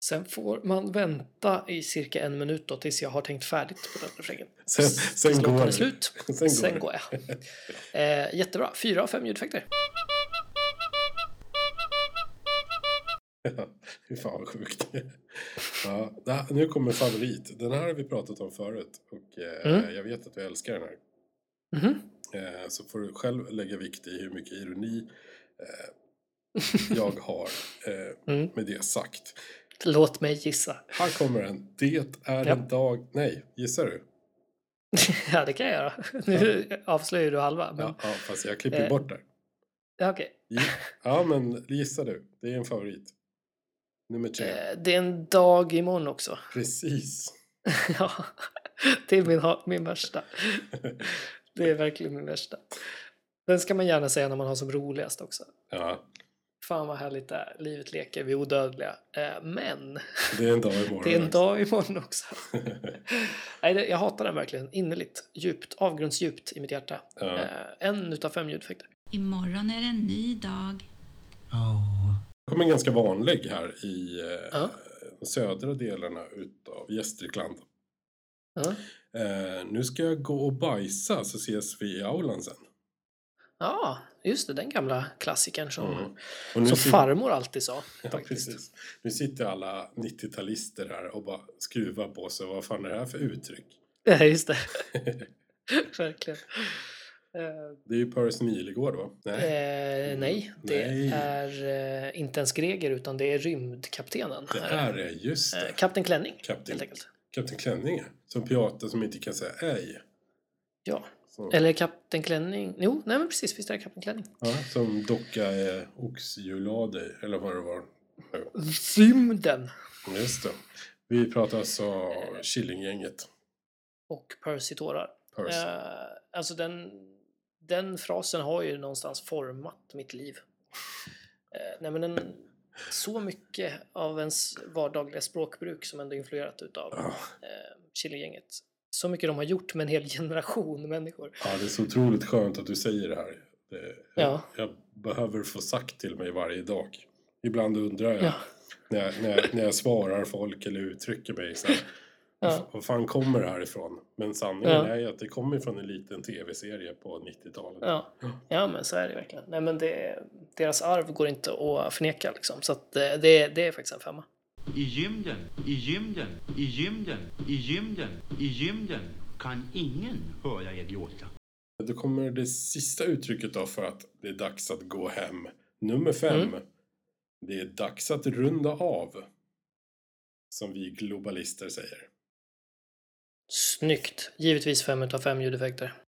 [SPEAKER 2] Sen får man vänta i cirka en minut då tills jag har tänkt färdigt på den refrängen.
[SPEAKER 1] (laughs) Sen, sen
[SPEAKER 2] Låten
[SPEAKER 1] går
[SPEAKER 2] är
[SPEAKER 1] det.
[SPEAKER 2] slut.
[SPEAKER 1] Sen går
[SPEAKER 2] Sen
[SPEAKER 1] det.
[SPEAKER 2] går jag.
[SPEAKER 1] (laughs)
[SPEAKER 2] Eh, jättebra. Fyra av fem ljudeffekter.
[SPEAKER 1] Fy fan vad sjukt. ja, det här, nu kommer favorit. Den här har vi pratat om förut och eh,
[SPEAKER 2] Mm.
[SPEAKER 1] jag vet att du älskar den här.
[SPEAKER 2] Mhm.
[SPEAKER 1] Eh, så får du själv lägga vikt i hur mycket ironi eh, jag har eh,
[SPEAKER 2] Mm.
[SPEAKER 1] med det sagt.
[SPEAKER 2] Låt mig gissa. (laughs)
[SPEAKER 1] Här kommer den. Det är
[SPEAKER 2] Ja.
[SPEAKER 1] en dag... Nej, gissar du?
[SPEAKER 2] ja, det kan jag göra. Nu avslöjar du halva. Men...
[SPEAKER 1] Ja, ja fast jag klipper
[SPEAKER 2] Eh.
[SPEAKER 1] bort där.
[SPEAKER 2] Ja, okej.
[SPEAKER 1] Ja, men gissa du. Det är en favorit. Nummer tre.
[SPEAKER 2] Eh, Det är en dag
[SPEAKER 1] (laughs)
[SPEAKER 2] imorgon också.
[SPEAKER 1] Precis.
[SPEAKER 2] ja, det är min, ha- min värsta. Det är verkligen min värsta. Den ska man gärna säga när man har som roligast också.
[SPEAKER 1] Ja,
[SPEAKER 2] Fan vad härligt det är. Livet leker, vi är odödliga. Eh, Men
[SPEAKER 1] det är en dag imorgon.
[SPEAKER 2] (laughs) det är en
[SPEAKER 1] också.
[SPEAKER 2] dag imorgon också. Nej, det- jag hatar den verkligen innerligt. Djupt, avgrundsdjupt i mitt hjärta.
[SPEAKER 1] (laughs) Ja.
[SPEAKER 2] Eh, En utav fem ljudeffekter.
[SPEAKER 5] Imorgon är en ny dag.
[SPEAKER 1] Det kommer en ganska vanlig här i eh,
[SPEAKER 2] Ja.
[SPEAKER 1] de södra delarna utav Gästrikland.
[SPEAKER 2] Ja.
[SPEAKER 1] Eh, nu ska jag gå och bajsa så ses vi i aulan sen.
[SPEAKER 2] ja, just det. Den gamla klassikern som,
[SPEAKER 1] Mm. Och nu
[SPEAKER 2] som
[SPEAKER 1] sit-
[SPEAKER 2] farmor alltid sa.
[SPEAKER 1] (laughs) Ja,
[SPEAKER 2] Faktiskt.
[SPEAKER 1] precis. Nu sitter alla 90-talister här och bara skruvar på sig. Vad fan är det här för uttryck?
[SPEAKER 2] Ja,
[SPEAKER 1] (laughs)
[SPEAKER 2] just det. Verkligen. Eh,
[SPEAKER 1] Det är ju Paris Nilegård va? Nej.
[SPEAKER 2] Eh, nej, det
[SPEAKER 1] Nej.
[SPEAKER 2] är eh, inte ens Greger utan det är rymdkaptenen.
[SPEAKER 1] Det här är just
[SPEAKER 2] Eh,
[SPEAKER 1] det.
[SPEAKER 2] Kapten Klänning,
[SPEAKER 1] Kapten-
[SPEAKER 2] helt enkelt.
[SPEAKER 1] Kapten Klänning. Som pirater som inte kan säga ej.
[SPEAKER 2] Ja.
[SPEAKER 1] Så.
[SPEAKER 2] Eller Kapten Klänning. Jo, nej men precis, visst är det Kapten Klänning.
[SPEAKER 1] Ja, som docka eh, oxjuladi, eller vad det var.
[SPEAKER 2] Rymden!
[SPEAKER 1] Just det. Vi pratar alltså Killinggänget.
[SPEAKER 2] Och Percy tårar.
[SPEAKER 1] Percy.
[SPEAKER 2] Eh, alltså den, den frasen har ju någonstans format mitt liv. Eh, nej men den, så mycket av ens vardagliga språkbruk som ändå influerat utav
[SPEAKER 1] Ja,
[SPEAKER 2] eh, Chilegänget. Så mycket de har gjort med en hel (laughs) generation människor.
[SPEAKER 1] ja, det är så otroligt skönt att du säger det här. Det,
[SPEAKER 2] Ja.
[SPEAKER 1] jag, behöver få sagt till mig varje dag. Ibland undrar jag,
[SPEAKER 2] Ja.
[SPEAKER 1] när, jag, när, jag när jag svarar folk eller uttrycker mig så här,
[SPEAKER 2] Ja.
[SPEAKER 1] vad fan kommer det här ifrån? Men sanningen
[SPEAKER 2] Ja.
[SPEAKER 1] är ju att det kommer från en liten tv-serie på 90-talet.
[SPEAKER 2] Ja. ja, men så är det verkligen. Nej, men det, deras arv går inte att förneka liksom. Så att, eh, det, det är faktiskt en femma.
[SPEAKER 6] I gymden, i gymden, i gymden, i gymden, i gymden kan ingen höra er gråta.
[SPEAKER 1] Då kommer det sista uttrycket då för att det är dags att gå hem. Nummer fem. Det är dags att runda av. Som vi globalister säger.
[SPEAKER 2] Snyggt! Givetvis fem utav fem ljudeffekter.